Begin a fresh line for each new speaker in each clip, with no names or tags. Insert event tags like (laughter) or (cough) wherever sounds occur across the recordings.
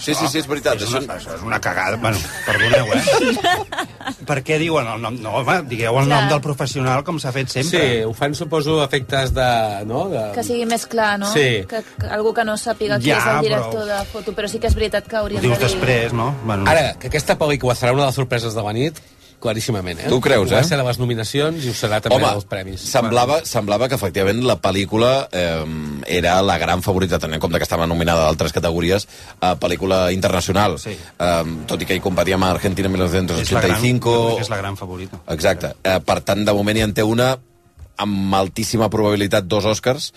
Sí, sí, sí, és veritat.
És
Això...
una, això és una cagada. Bueno, perdoneu, eh? (laughs) per què diuen el nom? No, home, digueu el nom
Clar.
del professional com s'ha fet
Sí,
sempre.
ho fan, suposo, efectes de... No? de...
Que sigui més clar, no?
Sí.
Que, que algú que no sàpiga qui
Ja,
és el director
però-
de foto, però sí que és veritat que
Ho
hauríem
dius
de dir...
després, no? Bueno,
Ara, Eh, que aquesta pel·lícula serà una de les sorpreses de la nit, claríssimament, eh?
Tu creus,
Ho
eh?
va ser de les nominacions i ho serà també
Home,
dels premis.
semblava, semblava que efectivament la pel·lícula eh, era la gran favorita, tenint en compte que estava nominada a altres categories a pel·lícula internacional.
Sí.
Eh, tot i que hi competia amb Argentina
és la gran, jo
1985...
crec que és la gran favorita.
Exacte. Eh, per tant, de moment hi en té una amb altíssima probabilitat dos Oscars.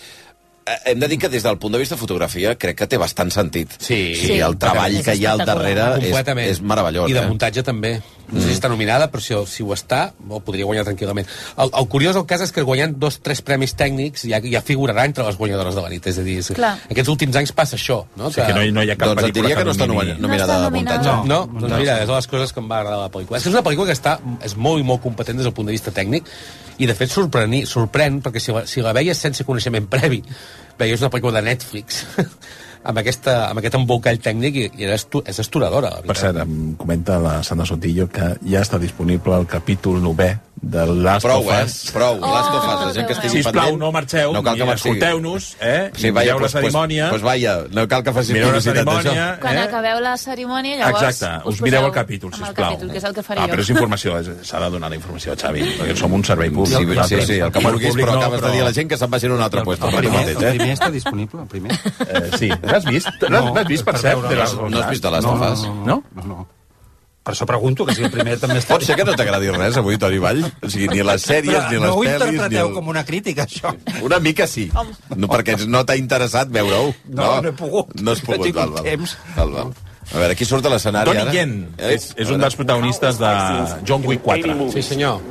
Eh, hem de dir que des del punt de vista de fotografia crec que té bastant sentit.
Sí.
sí el
Sí,
treball
és
que hi ha al
espectacular.
darrere és,
Completament.
és meravellós.
I de
eh? Mm.
muntatge també. No sé si està nominada, però si, si ho està, ho podria guanyar tranquil·lament. El, el curiós del cas és que guanyant dos tres premis tècnics ja, ja figurarà entre les guanyadores de la nit. És a dir, és-
Clar.
aquests últims anys passa això. No?
O sigui que no, hi- no hi ha cap
Doncs et
pel·lícula
diria que no està
nomini.
nomina- nominada
No està
a muntatge.
nominada.
No, doncs mira, és de les coses que em va agradar de la pel·lícula. És que és una pel·lícula que està, és molt i molt competent des del punt de vista tècnic i, de fet, sorprèn, sorprèn perquè si la, si la veies sense coneixement previ, veies una pel·lícula de Netflix (laughs) amb, aquesta, amb aquest embolcall tècnic i, i era estu, és estoradora, la
Per
veritat.
cert, em comenta la Sandra Sotillo que ja està disponible el capítol 9 de Last
Prou,
of
eh?
Us.
Prou. Oh, les cofes, la gent
Déu
que estigui
meu.
Sisplau,
pendent.
no marxeu,
no cal que
mira,
marxeu.
escolteu-nos, eh?
Sí,
I
vaya,
mireu la
pues,
cerimònia.
Pues, pues vaya, no cal que facis
Mireu la
publicitat d'això.
cerimònia,
Quan
eh?
acabeu la cerimònia, llavors...
Exacte, us,
poseu
mireu el capítol,
amb
sisplau.
el capítol, que és el que faré
ah, Però és
jo.
informació, és- s'ha de donar la informació, Xavi, perquè som un servei públic.
Sí, sí, sí, el que
El
vulguis,
públic
però
no,
acabes de
però-
dir a la gent que se'n vagi a un altre lloc. eh?
El primer, el
No
primer està disponible, el primer.
(laughs)
Eh, sí, l'has vist? L'has
No,
l'has vist, per
per
cert?
veure,
de les-
no,
has vist de les
No,
tofes?
no, no, no, no. Per això pregunto, que si el primer també està...
Pot ser que no t'agradi res avui, Toni Vall? O sigui, ni les sèries,
Però
ni les
no ho
pel·lis... ni
interpreteu
el-
com una crítica, això.
Una mica sí. No, perquè no t'ha interessat veure-ho.
No, no he pogut.
No has
No he
pogut,
tingut
val, val.
temps.
Val, val. A veure, qui surt a l'escenari
Donnie
ara?
Yen
Eh?
és, és un dels protagonistes de John Wick 4.
Sí, senyor.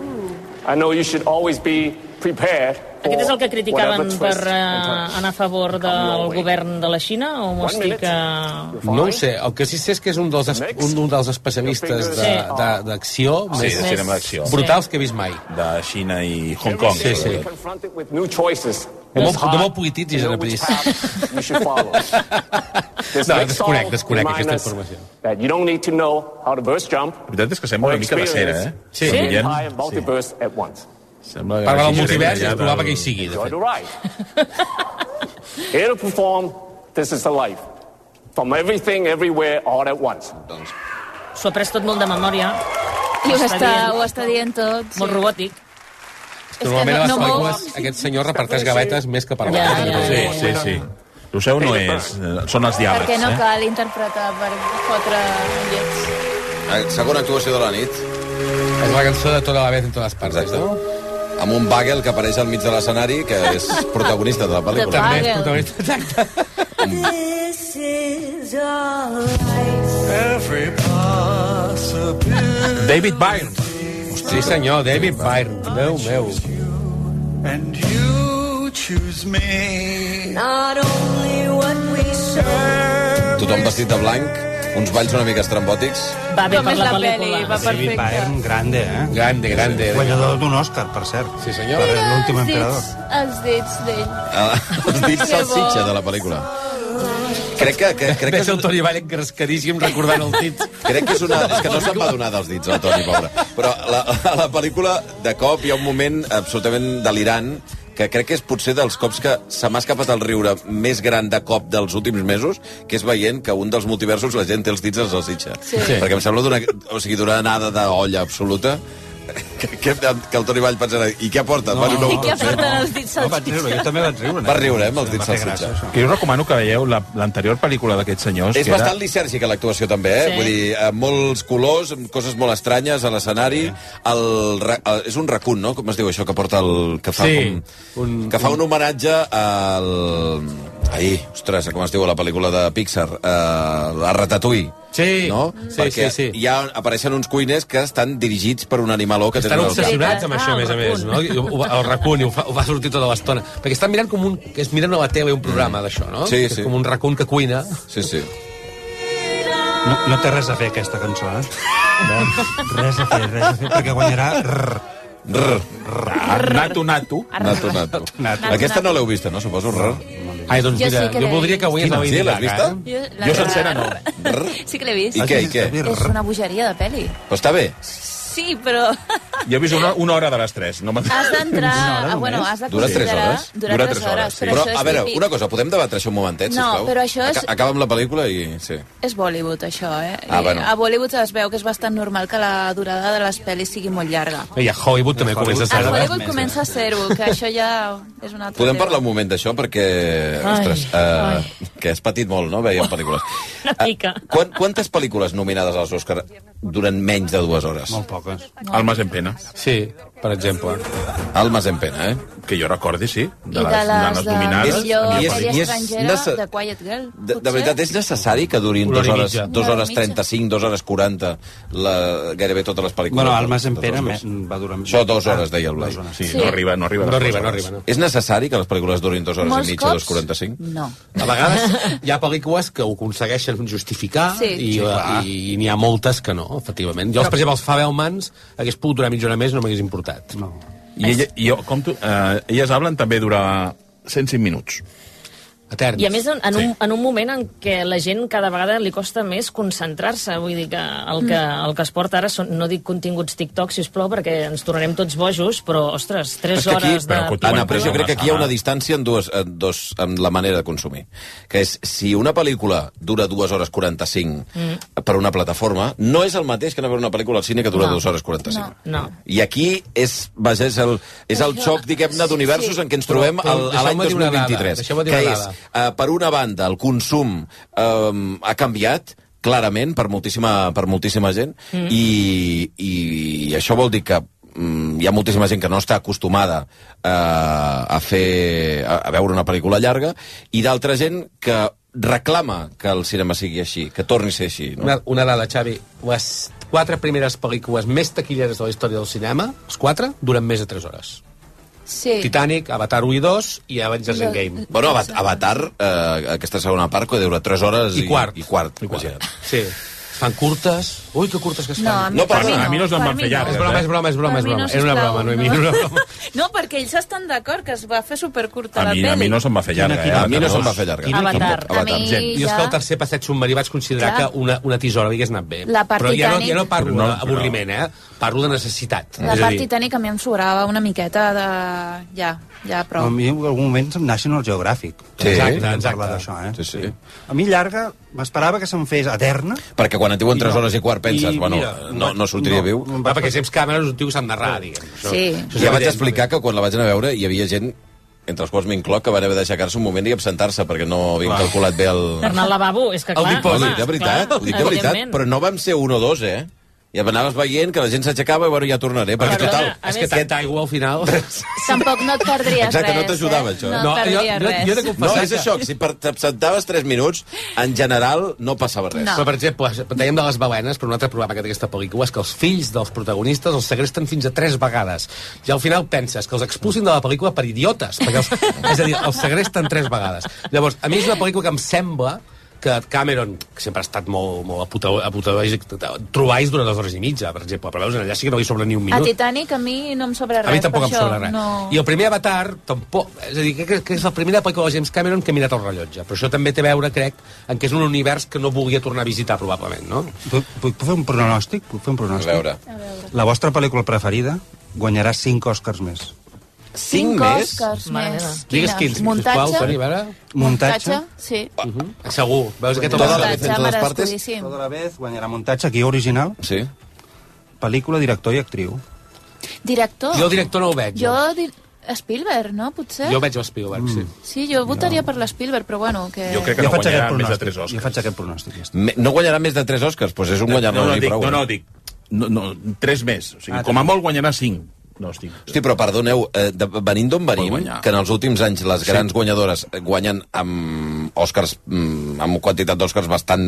I know you should always be prepared.
Aquest és el que criticaven per eh, anar a favor del govern de la Xina, o m'ho estic... eh,
No ho sé, el que sí sé és que és un dels, es- un, un dels especialistes de- de- d'acció
Sí, de
més
cinema d'acció.
brutals que he vist mai.
De Xina i Hong Kong.
Sí, sí.
Confronted with new choices.
No
It's
m'ho-
hard
no m'ho polititzis,
to know
Ana Pris.
which path you
(laughs)
should follow. This
No,
next
desconec,
song
desconec
reminds
aquesta
us
informació.
That you don't need to know how to burst jump.
La veritat és que sembla una mica de cera, eh?
Sí.
Quan
Sí?
veiem,
High and multi-burst at once.
Sembla que
Parla del
hagi
multivers i és
treballat
probable que
el-
hi sigui, de
Joy
fet.
to
(laughs)
ride. Here to perform, this is the life. From everything, everywhere, all at once.
S'ho ha pres tot molt de memòria,
I ho
Està
està,
dient.
ho està dient tot.
molt robòtic.
És que
Normalment a les
no, no mou...
pel·lícules aquest senyor reparteix gavetes més que parlar.
Ja, ja,
Sí,
Eh,
sí, sí. El seu no és, eh, són els
Perquè
diàlegs,
no
eh?
cal interpretar per fotre llets.
Eh, Segona actuació de la nit,
És la cançó de tota la vez en totes partes.
Exacte.
No?
amb un bagel que apareix al mig de l'escenari, que és protagonista de la pel·lícula.
També és
Bagel.
protagonista. Exacte.
This is alright.
David Byrne.
Sí, senyor, David Byrne. Déu meu.
And you choose me.
Not only what we serve.
Tothom vestit de blanc, uns balls una mica estrambòtics.
Va bé
Com
per
és
la
la pel·li,
pel·lícula.
va
David
perfecte.
Byrne, grande, eh?
Grande, grande.
Guanyador d'un Òscar, per cert.
Sí, senyor.
Per l'últim
Els
emperador.
dits, els dits d'ell.
Ah, (laughs) Els dits
Que bo.
salsitxa de la pel·lícula. Crec que, que, crec que
Veig
és
el Toni Vall engrescadíssim recordant el dit.
Crec que és una... És que no se'n va donar dels dits, el Toni, pobre. Però la, a la pel·lícula, de cop, hi ha un moment absolutament delirant que crec que és potser dels cops que se m'ha escapat el riure més gran de cop dels últims mesos, que és veient que un dels multiversos la gent té els dits a salsitxa. Sí.
Sí.
Perquè em sembla d'una o sigui, d'una anada d'olla absoluta que, que, que el Toni Vall pensarà i què aporta? No, bueno, no,
I
ho
què
pot fer".
aporten els dits
No,
al
vaig riure, jo també vaig riure.
Va riure, eh, amb els
Em va
dits
fer
salsitxa.
gràcia, això.
Que jo recomano que veieu la- l'anterior pel·lícula d'aquests senyors.
És
que era-
bastant lisèrgica l'actuació també, eh?
Sí.
Sí. Vull dir, eh, molts colors, amb coses molt estranyes a l'escenari. El, ra- el, és un racun, no? Com es diu això que porta el... Que fa,
Sí,
com, un,
un-
que fa un homenatge al... Ai, ostres, com es diu a la pel·lícula de Pixar? Eh, a Ratatouille.
Sí,
no?
sí,
Perquè
sí, sí.
Hi ha, apareixen uns cuiners que estan dirigits per un animaló que
Estan
tenen... al cap.
obsessionats amb això, a més a més, no? I ho- El racun, i ho fa, ho fa sortir tota l'estona. Perquè estan mirant com un... Que es miren a la tele un programa d'això, no?
Sí,
Que
sí.
És com un racun que cuina.
Sí, sí.
No, no té res a fer, aquesta cançó, eh? Res a fer, res a fer, perquè guanyarà... Rrr.
Rrr,
Ah, Nato Nato.
nato, nato.
Nato.
Aquesta no l'heu vista, no? Suposo, rrr.
Ai, doncs
Jo
mira,
sí que
jo
l'he
voldria que avui
vist.
anava
Sí, l'has vista?
Jo, la
Jo
de-
sencera no.
(laughs) Sí que l'he vist.
I què, i què?
És una bogeria de peli.
Però està bé.
Sí, però
Jo he vist una, una hora de les tres. No m'ha-
(laughs) has d'entrar... Ah, bueno, has de
Dura 3
considerar-
hores.
Dura 3 hores,
sí.
però,
Però,
això és
a veure,
típic.
una cosa, podem debatre això un momentet,
No,
sisplau?
però això és-
Aca acaba amb la pel·lícula i... Sí.
És Bollywood, això, eh?
Ah,
I
bueno.
A Bollywood es veu que és bastant normal que la durada de les pel·lis sigui molt llarga.
I a Hollywood també comença a
A
ser...
Hollywood comença a ser-ho, que això ja és una altra...
Podem
teva.
parlar un moment d'això perquè...
Ai,
Ostres,
ai.
eh, que has patit molt, no?,
(laughs)
veient pel·lícules.
Una
Eh,
mica.
quan, quantes pel·lícules nominades als Oscar duren menys de dues hores?
Molt eh? poques.
Almas en pena.
Sí, per exemple.
Almas en pena, eh?
Que jo recordi, sí.
I de les, eh, de
nominades.
millor
I és-
pel·li
i és
estrangera,
nece-
de Quiet Girl,
De, de veritat, és necessari que durin
Una
dues
hora i
hores,
mitja.
dues
Una hora
hores
i mitja.
35, dues hores 40, la, gairebé totes les pel·lícules.
Bueno, Almas en
dels
Pere
Oscars.
me- va durar...
Això dues hores, deia el Blai.
Dues hores.
Sí,
Sí.
no arriba, no arriba.
No
a les
arriba,
dues
no
hores.
arriba, no.
És necessari que les pel·lícules durin dues hores
Molts
i mitja,
cops,
dues 45?
no.
A vegades hi ha pel·lícules que ho aconsegueixen justificar
Sí.
i,
Sí,
la- i, i n'hi ha moltes que no, efectivament. Jo, per exemple, els Fabelmans hagués pogut durar mitja hora més i no m'hagués importat. No.
I, ella, i jo, com tu, eh, elles hablen també durant 105 minuts.
Eterns.
I a més, en, en, un,
Sí.
en un moment en què la gent cada vegada li costa més concentrar-se, vull dir que el que, el que es porta ara són, no dic continguts TikTok, sisplau, perquè ens tornarem tots bojos, però, ostres, 3
que
hores de...
però que tu-
Anna, però jo
Bueno,
crec que aquí hi ha
Anna.
una distància en, dues, en, dos, en la manera de consumir. Que és, si una pel·lícula dura 2 hores 45 mm. per una plataforma, no és el mateix que anar a veure una pel·lícula al cine que dura
No.
2 hores 45.
No. No.
I aquí és, vaja, és el, és el
Això-
xoc, diguem-ne, d'universos
sí.
en què ens trobem
Però- però
al- a l'any
deixeu-me dir una dada,
2023.
deixeu-me dir
Que
una
és,
dada.
eh, per una banda, el consum eh, ha canviat, clarament, per moltíssima, per moltíssima gent, mm. i, i això vol dir que mm, hi ha moltíssima gent que no està acostumada eh, a fer a, a veure una pel·lícula llarga i d'altra gent que reclama que el cinema sigui així, que torni a ser així. No?
Una, una dada, Xavi. Les quatre primeres pel·lícules més taquilleres de la història del cinema, els quatre, duren més de 3 hores.
Sí.
Titanic, Avatar 1 i 2 i Avengers
Jo-
Endgame.
Bueno, Ava- Avatar, eh, aquesta segona part, que dura 3 hores
I quart.
I quart,
I quart.
imagina't.
Sí. Es fan curtes. Ui, que curtes que es
No, a
fan.
mi
No,
no,
però
per mi
a
no.
mi no es van
per mi
fer
És
llargues, eh?
broma, és broma, és broma, és broma.
Per mi
Era una
sisplau,
broma, Noemí, era una broma.
(laughs) No, perquè ells estan d'acord que es va fer supercurta
A
la
mi,
pel·li.
a mi no se'm va fer llarga, eh?
A mi no se'm va fer llarga.
Quina- Avatar.
Tampoc, Avatar.
A mi
Gent.
Jo és
ja...
que el tercer passeig submarí vaig considerar
Clar.
que una, una tisora hauria anat bé.
La part
però ja no, ja no
Titanic-
parlo
No, però-
d'avorriment, eh? Parlo de necessitat.
La
Mm. És a
part
dir,
titànica a mi em sobrava una miqueta de... Ja, ja,
Però...
prou.
A mi en algun moment em National Geographic.
Sí.
Exacte,
Exacte.
exacte. D'això, eh?
Sí, sí.
A mi llarga, m'esperava que se'n fes eterna.
Perquè quan et diuen 3
I no.
hores i quart penses,
I
bueno,
mira,
no, no sortiré
no.
viu.
Em
Va,
va-
perquè James Cameron és un tio que s'ha de narrar, diguem. Això-
Sí.
això és
Ja vaig
evident.
explicar que quan la vaig anar a veure hi havia gent entre els quals m'incloc, que van haver d'aixecar-se un moment i absentar-se perquè no havien calculat bé el...
Per anar al lavabo, és que
El
clar...
dipòsit,
home,
de veritat,
clar,
ho dic de veritat,
evidentment.
però no vam ser un o dos, eh? I anaves veient que la gent s'aixecava i bueno, ja tornaré, perquè
Perdona,
total...
a
És que
més-
tanta aigua, al final...
Tampoc no et perdries
Exacte,
res. eh?
no t'ajudava, això.
No, no et
jo,
perdries
jo,
res.
jo he de
No,
confessar
és això, que si per- t'absentaves 3 minuts, en general no passava res.
No.
Però, per exemple, dèiem de les balenes, però un altre problema que té aquesta pel·lícula és que els fills dels protagonistes els segresten fins a tres vegades. I al final penses que els expulsin de la pel·lícula per idiotes, perquè els, (laughs) és a dir, els segresten tres vegades. Llavors, a mi és una pel·lícula que em sembla que Cameron, que sempre ha estat molt, molt apoteu- apoteuògic, trobais durant dues hores i mitja, per exemple, però veus, allà sí que no li sobra ni un
A
minut.
Titanic a mi no em sobra res.
A mi tampoc
per
em
això
sobra res.
No...
I el primer Avatar, tampoc... És a dir, crec que és la primera pel·lícula de James Cameron que he mirat el rellotge. Però això també té a veure, crec, en que és un univers que no volia tornar a visitar, probablement, no?
Puc, puc fer un pronòstic? Puc fer un
A
pronòstic?
veure...
La vostra pel·lícula preferida guanyarà 5 Oscars més.
5 més?
Oscars
Mare
més.
meva.
Digues quins,
Quines?
sisplau,
Muntatge?
Toni, a veure.
Muntatge.
Sí.
Segur. Veus aquest
Tota
home?
la vez en
Muntatge,
todas
mare
partes?
descudíssim.
Tota la vez guanyarà muntatge, guió original,
Sí.
pel·lícula, director i actriu.
Director.
Jo el director no ho veig.
Jo... di- Spielberg, no, potser?
Jo veig el Spielberg, sí.
Sí, jo votaria per l'Spielberg, però bueno, que...
Jo crec que no guanyarà més de 3
Jo
Oscars.
faig aquest pronòstic. Ja està.
Me- No guanyarà més de 3 Oscars? Doncs pues és un guanyador
no, no,
i
dic,
prou.
no,
eh?
no, dic, no, no, 3 més. O sigui,
Ah,
com a molt guanyarà 5. No, estic...
Hosti, però perdoneu, eh, de, venint d'on
Pot
venim,
guanyar.
que en els últims anys les grans sí. guanyadores eh, guanyen amb Oscars, mm, amb quantitat d'Oscars bastant...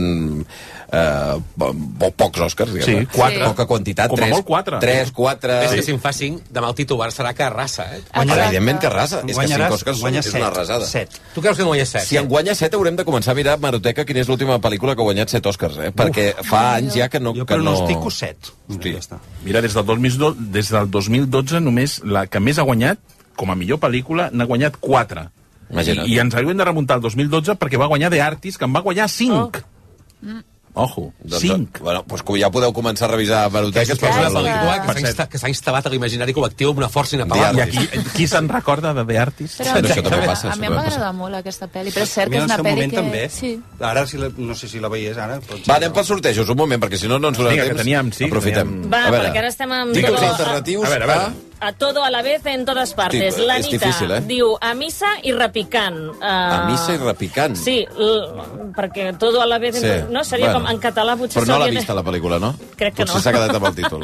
Eh, po- po pocs Oscars, diguem-ne.
Sí, quatre.
Sí. Poca quantitat.
Com a molt quatre.
3, 4...
És que si en fa 5, demà el titular serà que arrasa, eh?
Guanyarà, evidentment que arrasa. És que 5
eh? Guanyaràs-
Oscars són,
guanyes
és una
set,
arrasada.
set.
Tu creus que no guanya 7?
Si en guanya 7 haurem de començar a mirar a Maroteca quina és l'última pel·lícula que ha guanyat 7 Oscars, eh? Perquè fa anys ja que no...
Jo
que no...
pronostico 7.
Hosti.
Mira, ja està.
Mira, des del, 2012, des del 2012 només la que més ha guanyat, com a millor pel·lícula, n'ha guanyat 4.
Imagina't.
I, I ens havíem de remuntar al 2012 perquè va guanyar The Artist, que en va guanyar 5. Oh. Ojo, 5.
Bueno, Mm. doncs que ja podeu començar a revisar
Que
Baroteques.
és una
per veure-la.
pel·lícula que
Per
s'ha
cert.
insta- que s'ha instal·lat a l'imaginari col·lectiu amb una força
Ah, I
inapel·lable.
aquí, qui se'n recorda de The Artist?
Però,
Però això també passa,
a
això
mi em
també
va agradar molt aquesta pel·li, però és
A
cert
mi
que
en el
és una
seu
pel·li
moment
que...
també.
Sí.
Ara, si la, no sé si la veies ara. Potser,
Va, anem pels sortejos, un moment, perquè si no, no ens donarà
Vinga, que
temps.
teníem, sí, que
Aprofitem.
teníem.
Va,
A veure,
perquè ara estem amb
Digue'ns
tot-
alternatius.
A veure, a veure.
A todo a la vez en todas partes.
Hosti,
la
és
Anita
difícil, eh?
diu a missa i repicant. Uh,
A missa i repicant.
Sí, l- perquè todo a la vez...
Sí.
En... No, seria bueno. com en català potser
Però no l'ha
s'hauria de-
vista, la pel·lícula, no?
Crec que
potser
no.
s'ha quedat amb el títol.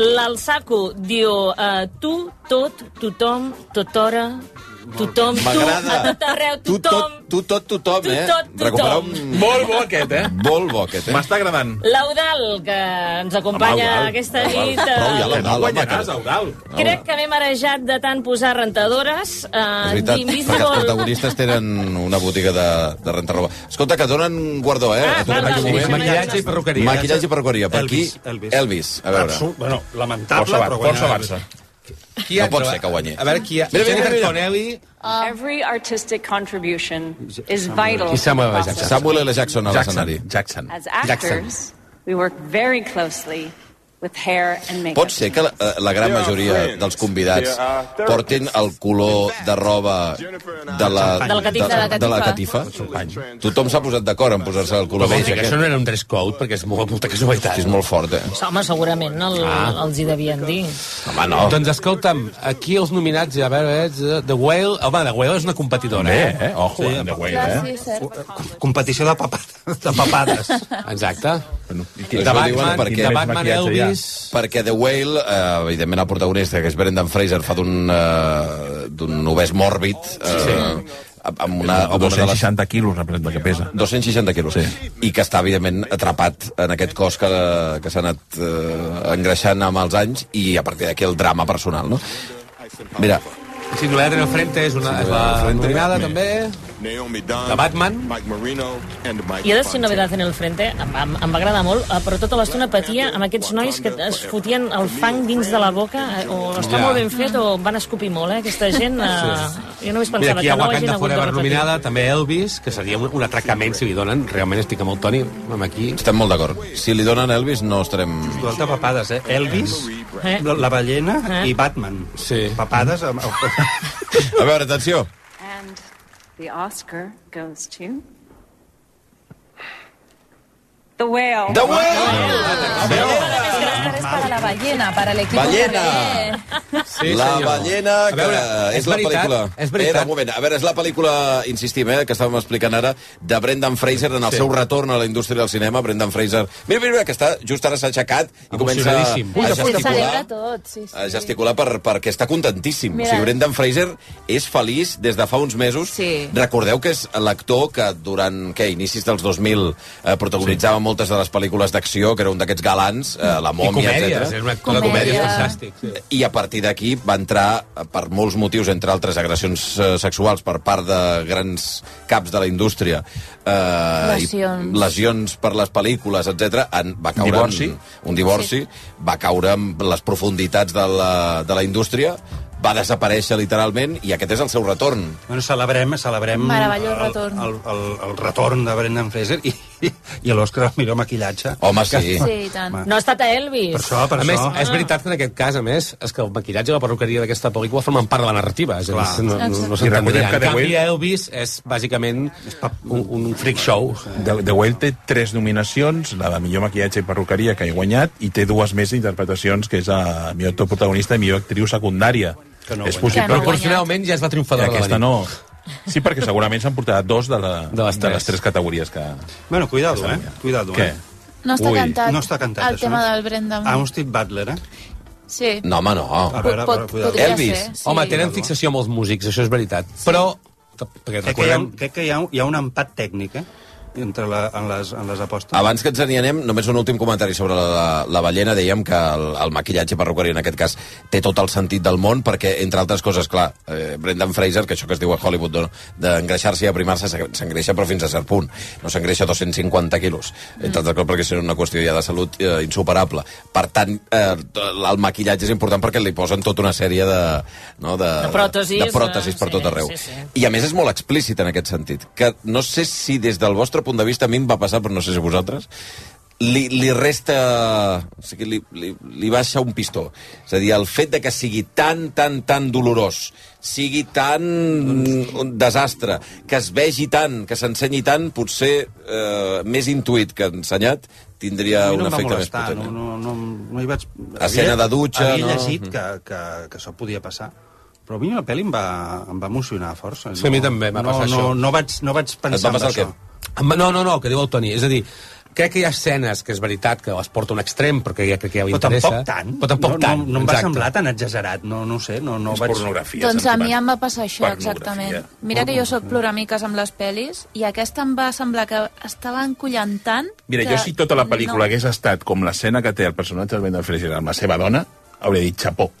L'Alsaco diu uh, tu, tot, tothom, tothora, tothom, tu,
M'agrada.
a tot arreu,
Tu
tothom.
tot, tu tot tothom,
Tu
eh?
tot tothom.
Recuperar un...
Molt bo aquest, eh?
Molt bo, aquest, eh?
M'està agradant.
L'Eudal, que ens acompanya
Home, Eudal,
aquesta
Eudal,
nit.
prou ja
eh,
l'Eudal, home,
Guanyaràs,
que-
Eudal.
Crec que m'he marejat de tant posar rentadores.
És
Eh,
veritat, perquè els
d'Invisible...
protagonistes tenen una botiga de, de rentar-roba. Escolta, que donen guardó, eh?
Ah,
A tu en
val,
aquell
val,
moment.
sí, maquillatge i
perruqueria.
Maquillatge i perruqueria. Per aquí,
Elvis, Elvis.
Elvis. A veure.
Absu- bueno, lamentable,
Força,
però
Barça,
guanyar.
força Barça.
Qui ha
No pot
trobat-
ser que guanyi.
A veure, qui ha...
Mira, mira,
Jennifer
mira.
Connelly...
Um, Every artistic contribution is vital.
Qui
to the
Samuel L.
process.
Jackson.
Samuel L. Jackson a
Jackson,
l'escenari.
Jackson.
As
Jackson.
actors, we work very closely with hair and makeup.
Pot ser que la, eh, la gran majoria dels convidats portin el color de roba de la,
Del catif- de la
de la catifa? Tothom s'ha posat d'acord en posar-se el color
Però vol
beige
dir que això
aquest.
no era un dress code, perquè és molt, molta casualitat.
És molt fort, eh?
Home, segurament no, el, ah. els hi devien dir.
Home, no.
Doncs escolta'm, aquí els nominats, a veure, és eh, The Whale... Home, The Whale és una competidora,
Bé,
eh?
eh? Ojo, sí, de guai,
Clar,
eh?
Ah, sí, és cert.
Com- Competició de, papa, de papades.
eh? Exacte.
Bueno, i
Això
The
tira.
ho diuen
Batman,
perquè-
The Batman
Més maquillatge, ja.
Elvis...
Perquè The Whale, eh, evidentment el protagonista, que és Brendan Fraser, fa d'un eh, d'un obès mòrbid, eh, amb una, amb una de les
260 quilos representa que pesa.
260 quilos. Sí. I que està, evidentment, atrapat en aquest cos que, que s'ha anat eh, engreixant amb els anys i a partir d'aquí el drama personal, no? Mira,
Singular en el Frente és, una, és la
Singular en el Frente.
nominada, també.
Naomi Dunn,
The Batman.
Mike Marino, and Mike
I ha de ser novedat en el frente, em, em, em va agradar molt, eh, però tota l'estona patia amb aquests nois que es fotien el fang dins de la boca, eh, o està
Ja.
molt ben fet o van escopir molt, eh, aquesta gent. Eh, jo només
Mira,
pensava
aquí hi
que
ha
no ho hagin
Wakanda
hagut de
Forever
repetir.
nominada, també Elvis, que seria un, un atracament si li donen. Realment estic amb el Toni, amb aquí.
estem molt d'acord. Si li donen Elvis, no estarem...
Dues de papades, eh? Elvis,
Eh?
la, la ballena
Eh?
i Batman.
Sí.
Papades amb... (laughs)
A veure, atenció.
And the Oscar goes to The Whale.
The Whale!
Oscar es para la ballena, para el equipo.
Ballena!
que-
Sí,
la ballena, que
veure,
és,
és
la
veritat,
pel·lícula...
és veritat.
Eh, de moment, a veure, és la pel·lícula, insistim, eh, que estàvem explicant ara, de Brendan Fraser en el
Sí.
seu retorn a la indústria del cinema. Brendan Fraser... Mira, mira, mira que està, just ara s'ha aixecat i comença a,
Emocionadíssim. Ui,
a
de
Se celebra
gesticular.
tot, sí, sí.
A gesticular per, perquè està contentíssim.
Mira.
O sigui, Brendan Fraser és feliç des de fa uns mesos.
Sí.
Recordeu que és l'actor que durant què, inicis dels 2000 eh, protagonitzava moltes de les pel·lícules d'acció, que era un d'aquests galants, eh, La
I
Mòmia,
comèdies,
etc
és un actor de
Comèdia.
comèdies fantàstic. Sí.
i a partir d'aquí va entrar, eh, per molts motius, entre altres agressions eh, sexuals per part de grans caps de la indústria, eh,
Lesions.
I lesions per les pel·lícules, etc. va caure
Divorci.
En, un divorci, va caure en les profunditats de la, de la indústria, va desaparèixer literalment i aquest és el seu retorn.
Bueno, celebrem, celebrem
Meravellós retorn.
El, el, el, retorn de Brendan Fraser i, i a l'Òscar el millor maquillatge.
Home, sí.
Sí, i tant.
No ha estat a Elvis.
Per això, per
A més,
això.
és veritat que en aquest cas, a més, és que el maquillatge i la perruqueria d'aquesta pel·lícula formen part de la narrativa. És a
Clar.
dir, no, no, no
I recordem
s'entendria.
que
En
The
canvi,
Whale-
Elvis és bàsicament un, un freak show.
The, The Whale té tres nominacions, la de millor maquillatge i perruqueria que he guanyat, i té dues més interpretacions, que és a millor actor protagonista i millor actriu secundària.
Que no
és
guanya.
possible
Que no
Proporcionalment ja és la
I
triomfadora de la
aquesta
nit.
no. Sí, perquè segurament s'han portat dos de, la,
De les
de
tres.
les tres categories que...
Bueno, cuidado, eh? Cuidado,
Què?
eh?
No està
Ui,
cantat.
No està cantat,
El
això,
tema
no?
del Brendan.
Ah, un Steve Butler, eh?
Sí.
No, home, no.
A veure,
Pot-
però cuidado.
podria
Elvis.
ser, sí.
Home, tenen fixació amb els músics, això és veritat. Però, perquè
Crec que, hi ha,
recordem...
un- crec que hi ha, un- hi ha un empat tècnic, eh? entre la, en, les, en les apostes.
Ah,
Abans que ens n'hi anem, només un últim comentari sobre la, la, la ballena. Dèiem que el, el maquillatge perruquerí en aquest cas té tot el sentit del món perquè, entre altres coses, clar, eh, Brendan Fraser, que això que es diu a Hollywood no? d'engreixar-se i aprimar-se, s'en- s'engreixa però fins a cert punt. No s'engreixa 250 quilos. Entre altres coses perquè és una qüestió ja de salut eh, insuperable. Per tant, eh, el maquillatge és important perquè li posen tota una sèrie de... No, de,
De pròtesis,
De pròtesis per
eh,
tot
sí,
arreu.
sí, sí.
I a més és molt explícit en aquest sentit, que no sé si des del vostre punt de vista, a mi em va passar, però no sé si a vosaltres, li, li resta... O sigui, li, li, li baixa un pistó. És a dir, el fet de que sigui tan, tan, tan dolorós, sigui tan un desastre, que es vegi tant, que s'ensenyi tant, potser eh, més intuït que ensenyat, tindria
A mi
un
no em va
efecte més
molestar,
potent.
eh.
no, no, no, no hi vaig...
Escena de dutxa,
Havia
Mm.
no?
llegit que, que, que això podia passar. Però a mi la pel·li em va, em va emocionar força.
Sí, a mi també m'ha
no,
passat
no,
això.
No, vaig, no vaig pensar en
passar el
això.
Em- No, no, no, el que diu el Toni. És a dir, crec que hi ha escenes que és veritat que les porta a un extrem perquè ja crec que ja ho
Però
interessa.
tampoc tant.
Però tampoc
no,
tant.
No, no em va
exacte.
semblar tan exagerat, no, no ho sé. No, no
És
vaig...
pornografia.
Doncs a
Santi
mi
Pan.
em va passar això,
Pornografia.
exactament. Mira que jo sóc ploramiques amb les pel·lis i aquesta em va semblar que estava encollant tant...
Mira,
que...
jo si tota la pel·lícula
no.
no. hagués estat com l'escena que té el personatge de Brendan Fraser amb la seva dona, hauria dit xapó.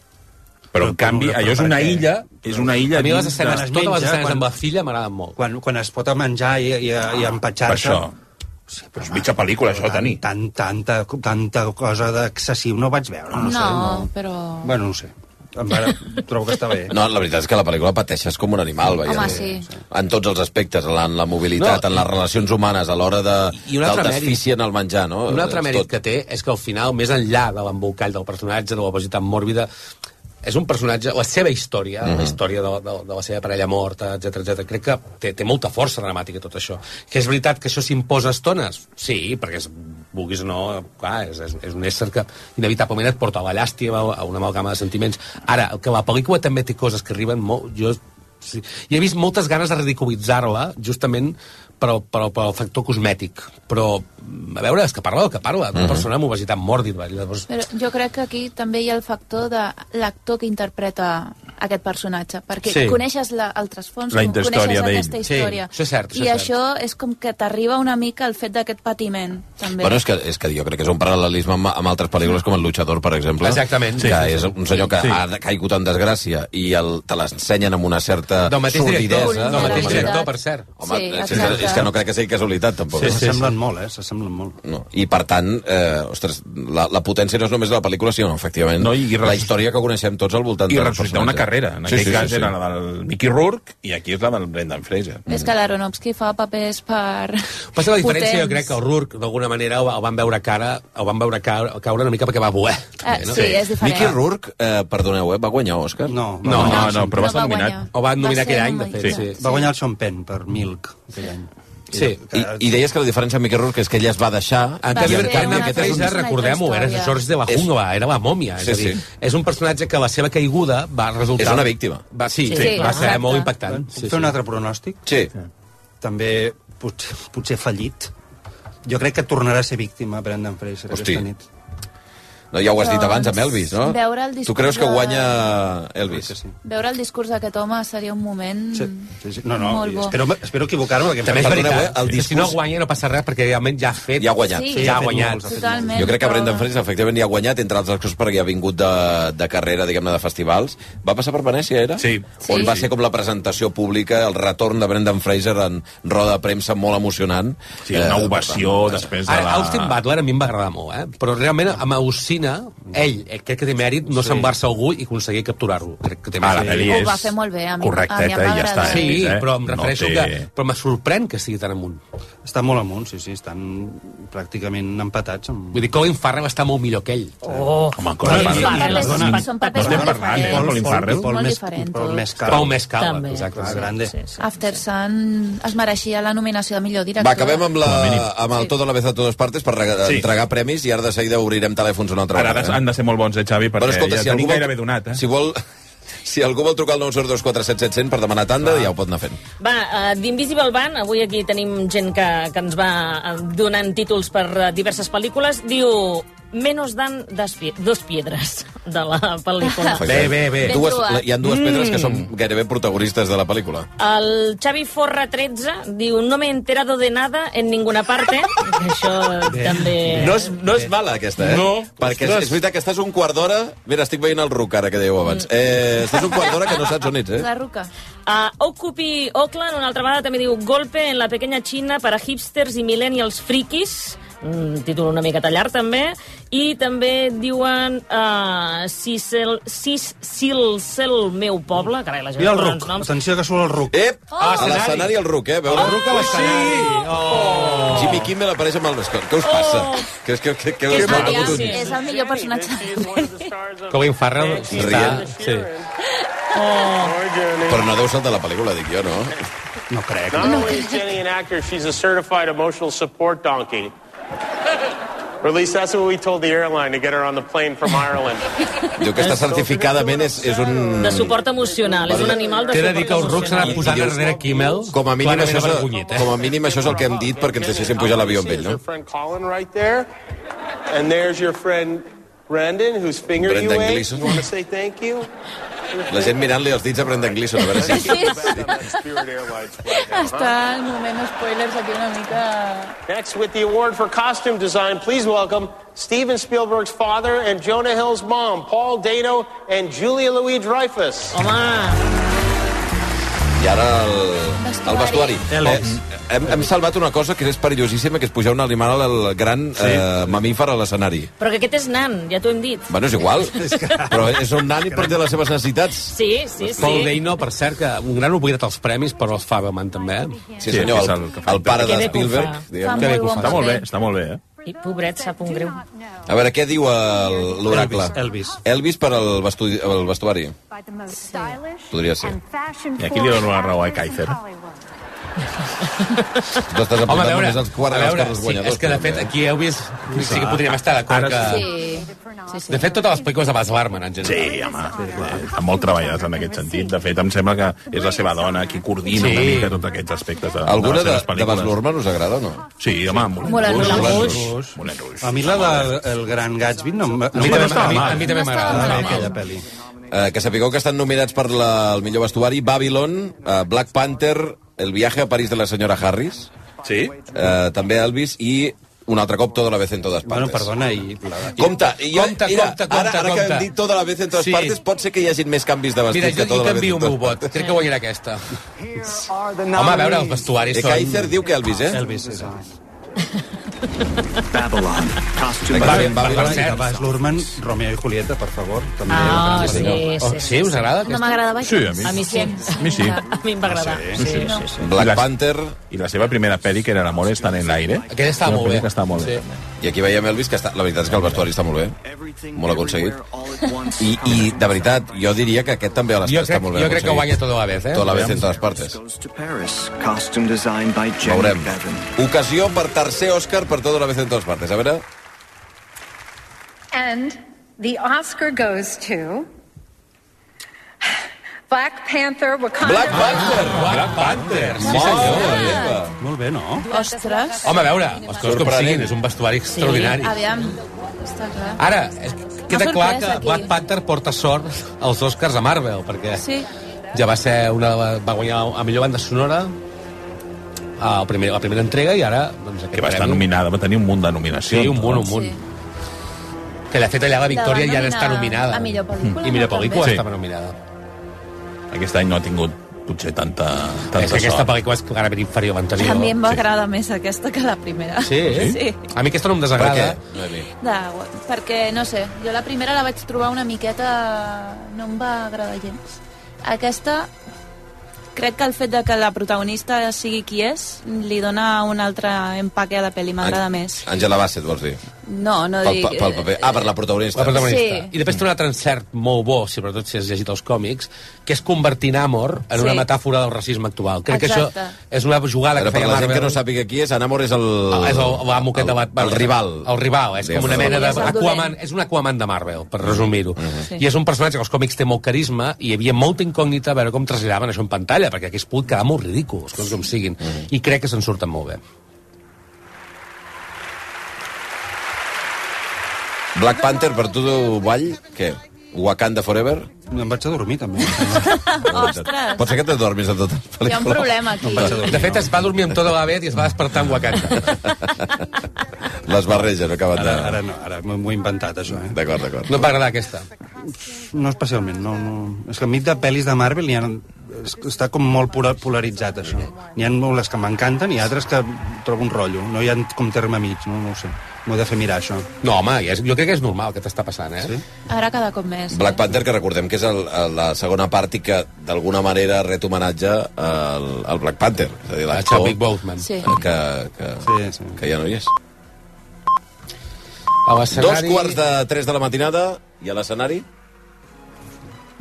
Però, en
Però,
canvi,
però,
allò és
per
una
què?
illa, és una illa...
A mi les
dins
escenes,
es
totes les
menja,
escenes
eh, quan-
amb la filla m'agraden molt.
Quan, quan es pot menjar i, i,
Ah,
i
Per
empatxar-se...
això. Sí, però és mitja pel·lícula, això, Tani.
Tant, tanta, tanta cosa d'excessiu no vaig veure. No,
No,
Sé,
però...
no. Bueno, no ho sé. Em va... trobo que està bé. eh?
No, la veritat és que la pel·lícula pateixes com un animal, veient
Home, sí.
En tots els aspectes, en la, en la mobilitat,
No,
no, en les relacions humanes, a l'hora de,
I un altre
del desfici en el menjar, no?
Un altre
És
mèrit
tot.
que té és que al final, més enllà de l'embolcall del personatge, de l'obesitat mòrbida, és un personatge, la seva història,
Mhm.
mm -hmm. la història de, de, de la seva parella morta, etc etc. crec que té, té molta força dramàtica tot això. Que és veritat que això s'imposa a estones? Sí, perquè és, vulguis o no, clar, és, és, és un ésser que inevitablement et porta a la llàstima, a una amalgama de sentiments. Ara, el que la pel·lícula també té coses que arriben molt... Jo Sí. I he vist moltes ganes de ridiculitzar-la, justament pel, pel, pel factor cosmètic. Però, mm, a veure, és que parla del que parla, d'una
Mhm.
persona amb obesitat mòrbida. Llavors,
Però jo crec que aquí també hi ha el factor de l'actor que interpreta aquest personatge, perquè
Sí.
sí. coneixes la, el trasfons,
La
com-
interhistòria
coneixes
d'ell.
aquesta
Sí,
història.
això és cert, això
I
és
això és com que t'arriba una mica el fet d'aquest patiment, també.
Bueno, és que, és que jo crec que és un paral·lelisme amb, amb altres pel·lícules com El Luchador, per exemple.
Exactament. Sí,
Que
sí, sí.
és un senyor que
Sí.
sí. ha caigut en desgràcia i el, te l'ensenyen amb una certa
del mateix director,
Ah, sordidesa.
del mateix
Vulnerabilitat.
director, per cert.
Home,
Sí,
és,
exacte.
és que no crec que sigui casualitat, tampoc.
Sí, s'assemblen molt, eh? S'assemblen molt.
No. I, per tant, eh, ostres, la, la potència no és només de la pel·lícula, sinó, efectivament,
No,
no,
i- i
la
ressusc-
història que coneixem tots al voltant
I
del
ressuscitar una
personatge.
carrera. En aquell cas era la del Mickey Rourke i aquí és la del Brendan Fraser.
És que l'Aronofsky fa papers per...
Passa la diferència, jo crec, que
potents.
el Rourke, d'alguna manera, el, el van veure cara, el van veure ca- caure una mica perquè va voler.
Ah,
també, no?
sí, és diferent.
Mickey Rourke, eh, perdoneu, eh, va guanyar Òscar?
No,
No,
va
No,
guanyar,
no, no, però va
No
estar
va
nominat.
guanyar.
O va nominar
Va ser
aquell any, de fet.
nominat.
Sí.
va guanyar el Sean Penn per Milk aquell any.
Sí.
I, I deies que la diferència amb Mickey Rourke és que ella es va deixar...
En
Va
canvi,
ser
en canvi,
una
aquest és,
altra
recordem-ho, era
història.
George de la
És-
Jungla, era la mòmia. És,
Sí,
a dir,
sí.
és un personatge que la seva caiguda va resultar...
És una víctima.
Va, sí,
Sí,
sí,
sí,
va ser
exacte.
molt impactant.
Puc fer un altre pronòstic?
Sí.
També pot, potser fallit. Jo crec que tornarà a ser víctima Brendan Fraser
Hosti.
aquesta nit.
Mm.
No, ja ho has dit
Doncs,
abans amb Elvis, no?
veure el discurs
tu creus que
de-
guanya
Crec
Elvis?
que sí.
Veure el discurs d'aquest home seria un moment
Sí, sí, sí. No, no,
molt
i
bo.
espero, espero equivocar-me. perquè em
També és
sembla-
Perdoneu,
veritat.
eh, el
El discurs... Si
discurs-
no guanya no passa res perquè realment ja ha fet...
Ja ha guanyat.
Sí.
Sí, ja ha guanyat.
molts, ha fet
Totalment.
Jo crec que
però-
Brendan Fraser efectivament hi ha guanyat, entre altres coses perquè ha vingut de, de carrera, diguem-ne, de festivals. Va passar per Venècia, era?
Sí.
On
Sí.
va ser com la presentació pública, el retorn de Brendan Fraser en roda de premsa molt emocionant.
Sí, una
Eh,
ovació després de
Ara,
la...
Austin Butler a mi em va agradar molt, eh? Però realment amb Ausina, ell, eh, crec que té mèrit no sí. semblar-se a algú i aconseguir capturar-lo. Crec que té
Ah, la
mèrit.
pel·li
Ho
és
va fer molt bé, a mi- a mi em
correcteta
va
i ja està.
agradar.
Sí,
eh?
però em refereixo
no
no
té...
que... Però me sorprèn que estigui tan amunt.
Està molt amunt, sí, sí. Estan pràcticament empatats. Amb...
Vull dir, Colin Farrell està molt millor que ell.
Oh,
Home, cosa
Sí,
no,
són papers-
no, no,
són papers
estem
molt
parlant, eh,
diferents.
Colin Farrell.
Paul
Molt
més-
diferents
Paul Mescal.
Pau més cal.
també. Ah,
Exacte.
Sí. grande.
After Sun es mereixia la nominació de millor director.
Va, acabem amb, la,
mínim.
amb el Todo a la vez a totes partes per rega-
Sí.
entregar premis i ara de seguida obrirem telèfons una altra
Ara
vegada. eh?
han de ser molt bons, eh, Xavi, perquè
Bueno, escolta,
ja
si algú
tenim
vol-
gairebé donat, eh?
Si vol... (laughs) Si algú vol trucar al 902 477 per demanar tanda, ja ho pot anar fent.
Va, uh, d'Invisible Van, avui aquí tenim gent que, que ens va eh, donant títols per eh, diverses pel·lícules, diu Menos dan das pie- dos piedras. de la pel·lícula.
Bé, bé, bé.
Ben
Dues,
trobat.
hi ha dues pedres que són gairebé protagonistes de la pel·lícula.
El Xavi Forra 13 diu no me he enterado de nada en ninguna
(laughs)
parte. Això
Bé,
també...
No és, no és mala, aquesta, eh?
No,
Perquè és,
ostres.
és veritat que estàs un quart d'hora... Mira, estic veient el Ruc, ara que dèieu abans. Eh, estàs un quart d'hora que no saps on ets, eh?
La ruca.
Uh, Occupy Oakland, una altra vegada, també diu Golpe en la pequeña China para hipsters i millennials friquis. Mm, títol una mica tallar, també. I també diuen uh, si, sel, si, si el cel meu poble... Carai, la gent
Mira el
posa
ruc.
uns noms.
Atenció que surt el ruc.
Ep!
Oh!
A l'escenari el Ruc, eh? Veure?
El Ruc a l'escenari.
Oh. Jimmy Kimmel apareix amb el mascot. Què us passa?
Oh.
Que, que, que, que,
És,
us passa?
el, és el millor (laughs) personatge.
Colin Farrell
Sí.
està...
Rient.
Sí.
Però no deu ser el de la pel·lícula, dic jo, no?
No crec.
Not only is Jenny an actor, she's a certified emotional support donkey. Or at least that's what we told the airline to get her on the plane from Ireland.
Diu que està certificadament és, és un...
De suport emocional. És un animal de
T'he de
suport
dir que el ruc
emocional.
s'anava posant
Darrere Kimmel,
Com a mínim,
clarament
això és, el,
avergonyit, eh?
com a mínim això és el que hem dit perquè ens deixessin pujar a l'avió amb ell,
There's
no?
your friend Colin right there. And there's your friend Brendan, whose finger
Brendan
you ate.
Gleeson.
You want to say thank you?
La gent mirant-li els dits a Brendan Gleeson, a veure si...
Spirit Airlines.
Està en moment spoilers aquí una mica...
Next, with the award for costume design, please welcome Steven Spielberg's father and Jonah Hill's mom, Paul Dano and Julia Louis Dreyfus.
I ara el, el vestuari. Eh, hem, hem salvat una cosa que és perillosíssima, que és pujar un animal al gran eh, mamífer a l'escenari.
Però que aquest és nan, ja t'ho hem dit.
Bueno, és
(laughs)
igual, però és un nani per té les seves necessitats.
Sí, sí, sí.
Paul Dano, per cert, que un gran oblidat als premis, però els Faberman també. eh?
Sí, senyor, el- el pare de Spielberg, diguem.
Que bé que ho fa. Està molt bé,
està molt bé, eh?
I pobret, sap un greu.
A veure, què diu el- l'oracle?
Elvis.
Elvis per al vestu el vestuari. Podria ser.
I aquí li dono la raó a Kaiser.
Tu estàs apuntant
Home, a veure,
només els quart
a
dels
veure,
carros
sí,
guanyadors.
és que de fet
però, eh?
aquí heu vist, sí que podríem estar d'acord que...
Sí, sí.
De fet, totes les pel·lícules de Baz Luhrmann, en general.
Sí, home, eh, molt treballades en aquest sentit. De fet, em sembla que és la seva dona qui coordina una
Sí.
mica tots aquests aspectes de,
Alguna
de
de,
les seves
de Bas
pel·lícules.
Luhrmann us agrada o no?
Sí, home, Moulin
Moulin Rouge. Rouge.
Moulin
Moulin
Rouge.
A mi la del el gran Gatsby no, m- no
mi
m'agrada.
també m'agrada. A mi- a mi també
No
m'agrada.
estava
No,
malament,
no.
Aquella pel·li.
Eh, que sapigueu que estan nominats per la, el millor vestuari Babylon, eh, Black Panther, El viaje a París de la senyora Harris,
Sí?
eh, també Elvis i un altre cop Toda la vez en todas
Bueno,
partes.
perdona, i... La...
Compte, i jo,
Compte,
mira,
compte,
ara,
compte,
ara que
compte.
hem dit Toda la vez en todas
Sí.
partes, pot ser que hi hagin més canvis de vestit
Mira, jo
que
hi
Toda la vez
canvio
en
el meu
todas
vot.
partes.
Crec que guanyarà aquesta. Home, a veure, els vestuaris
Eh,
són...
Kaiser diu que Elvis, eh?
Elvis, és el...
Babylon. Costume
Va bé,
design.
va bé, va
Babylon,
bé.
i Bas Luhrmann, Romeo i Julieta, per favor. També
Ah,
Grans
sí,
Gatsby.
sí,
Sí, us agrada
No
aquesta?
m'agradava
Sí, a mi.
A mi sí. (laughs)
A mi sí.
A mi em va agradar. Sí, sí, sí. sí.
Black
I les-
Panther,
I la seva primera pel·li, que era L'amor estan en l'aire.
Aquesta estava
Una
molt
pel·li
bé.
Que estava molt bé.
Sí.
i aquí veiem Elvis, que està, la veritat és que el vestuari està molt bé.
Everything,
Molt aconseguit.
everywhere, all at once.
I, i de veritat, jo diria que aquest també a les
Jo
està
crec,
molt ben
jo crec que guanya
aconseguit.
tota la vez, eh?
Toda la vez en todas partes.
Goes to Paris. Costume design by Jenny
Veurem.
Bevan.
eh?
Ocasió per tercer Òscar per tota la vez en todas partes. A veure,
And the Oscar goes to Black Panther Wakanda.
Black Panther!
Black Panther, sí
Molt
senyor.
bé.
Molt bé, no?
Ostres.
Home, a veure, les coses com
Sorprenent.
siguin, és un vestuari extraordinari.
Aviam. Està clar.
Ara, és- queda
M'ha
clar
sorprès,
que
aquí.
Black Panther porta sort als Oscars a Marvel, perquè
Sí.
ja va ser una... va guanyar a millor banda sonora a la primera, la primera entrega i ara... Doncs, aquest
Que va estar
premi.
nominada, va tenir un munt de nominacions.
Sí, un munt, un munt.
Sí.
Que, de fet, allà la Victòria
van
ja n'està
nominar
nominada.
a millor pel·lícula,
I millor
no,
pel·lícula
també?
estava
Sí.
nominada.
Aquest any no ha tingut potser tanta, tanta
És que aquesta
sort.
pel·lícula és clarament inferior a l'anterior.
A mi em va agradar més aquesta que la primera.
Sí, eh?
Sí.
A mi aquesta no em desagrada.
Per què?
De, perquè, no sé, jo la primera la vaig trobar una miqueta... No em va agradar gens. Aquesta, crec que el fet de que la protagonista sigui qui és li dona un altre empaque a la pel·li, m'agrada més.
Àngela Bassett, vols dir?
No, no
Pel,
dic... eh,
pel, pel paper. Ah, per la protagonista.
La protagonista.
Sí.
I després té un altre encert molt bo, si sobretot si has llegit els còmics, que és convertir Namor en
Sí.
una metàfora del racisme actual. Crec
Exacte.
que això és una jugada
Ara,
que
per
feia
la gent
Marvel.
que no sàpiga qui és, Anamor és el...
Ah, és el- l'amo aquest de
el,
Batman.
el rival.
El rival, és com una
Diguem-ne.
mena de...
És el dolent.
Aquaman, és un Aquaman de Marvel,
Mm-hmm.
per resumir-ho.
Sí.
I és un personatge que als còmics té molt carisma i hi havia molta incògnita a veure com traslladaven això en pantalla, perquè aquí es pot quedar molt ridícul, les coses com siguin.
Mm-hmm.
I crec que se'n surten molt bé.
Black Panther, per tu, Vall, què? Wakanda Forever?
Em vaig adormir, també.
(laughs) Ostres,
Pot ser que t'adormis a totes les
hi ha un
pel·lícules.
problema aquí.
De fet, es va dormir amb tota la vet i es va despertar amb Wakanda.
Les barreges no acaben
Ara,
de...
ara no, ara m'ho he inventat, això, eh?
D'acord, d'acord.
No et va agradar aquesta.
No especialment, no, no. És que a mi de pel·lis de Marvel n'hi ha, es- està com molt pura- polaritzat, això. N'hi ha les que m'encanten i altres que trobo un rotllo. No hi ha com terme mig, no, no ho sé. M'ho he de fer mirar, això.
No, home, ja és, jo crec que és normal que t'està passant, eh? Sí?
Ara cada cop més.
Black Panther, que recordem que és el, el- la segona part i que d'alguna manera ret homenatge al, al Black Panther. És a dir,
A
l'actor
Chadwick Boseman.
Sí.
que, que,
Sí, sí.
que ja no hi és.
A
Dos
l'escenari...
quarts de tres de la matinada i a l'escenari...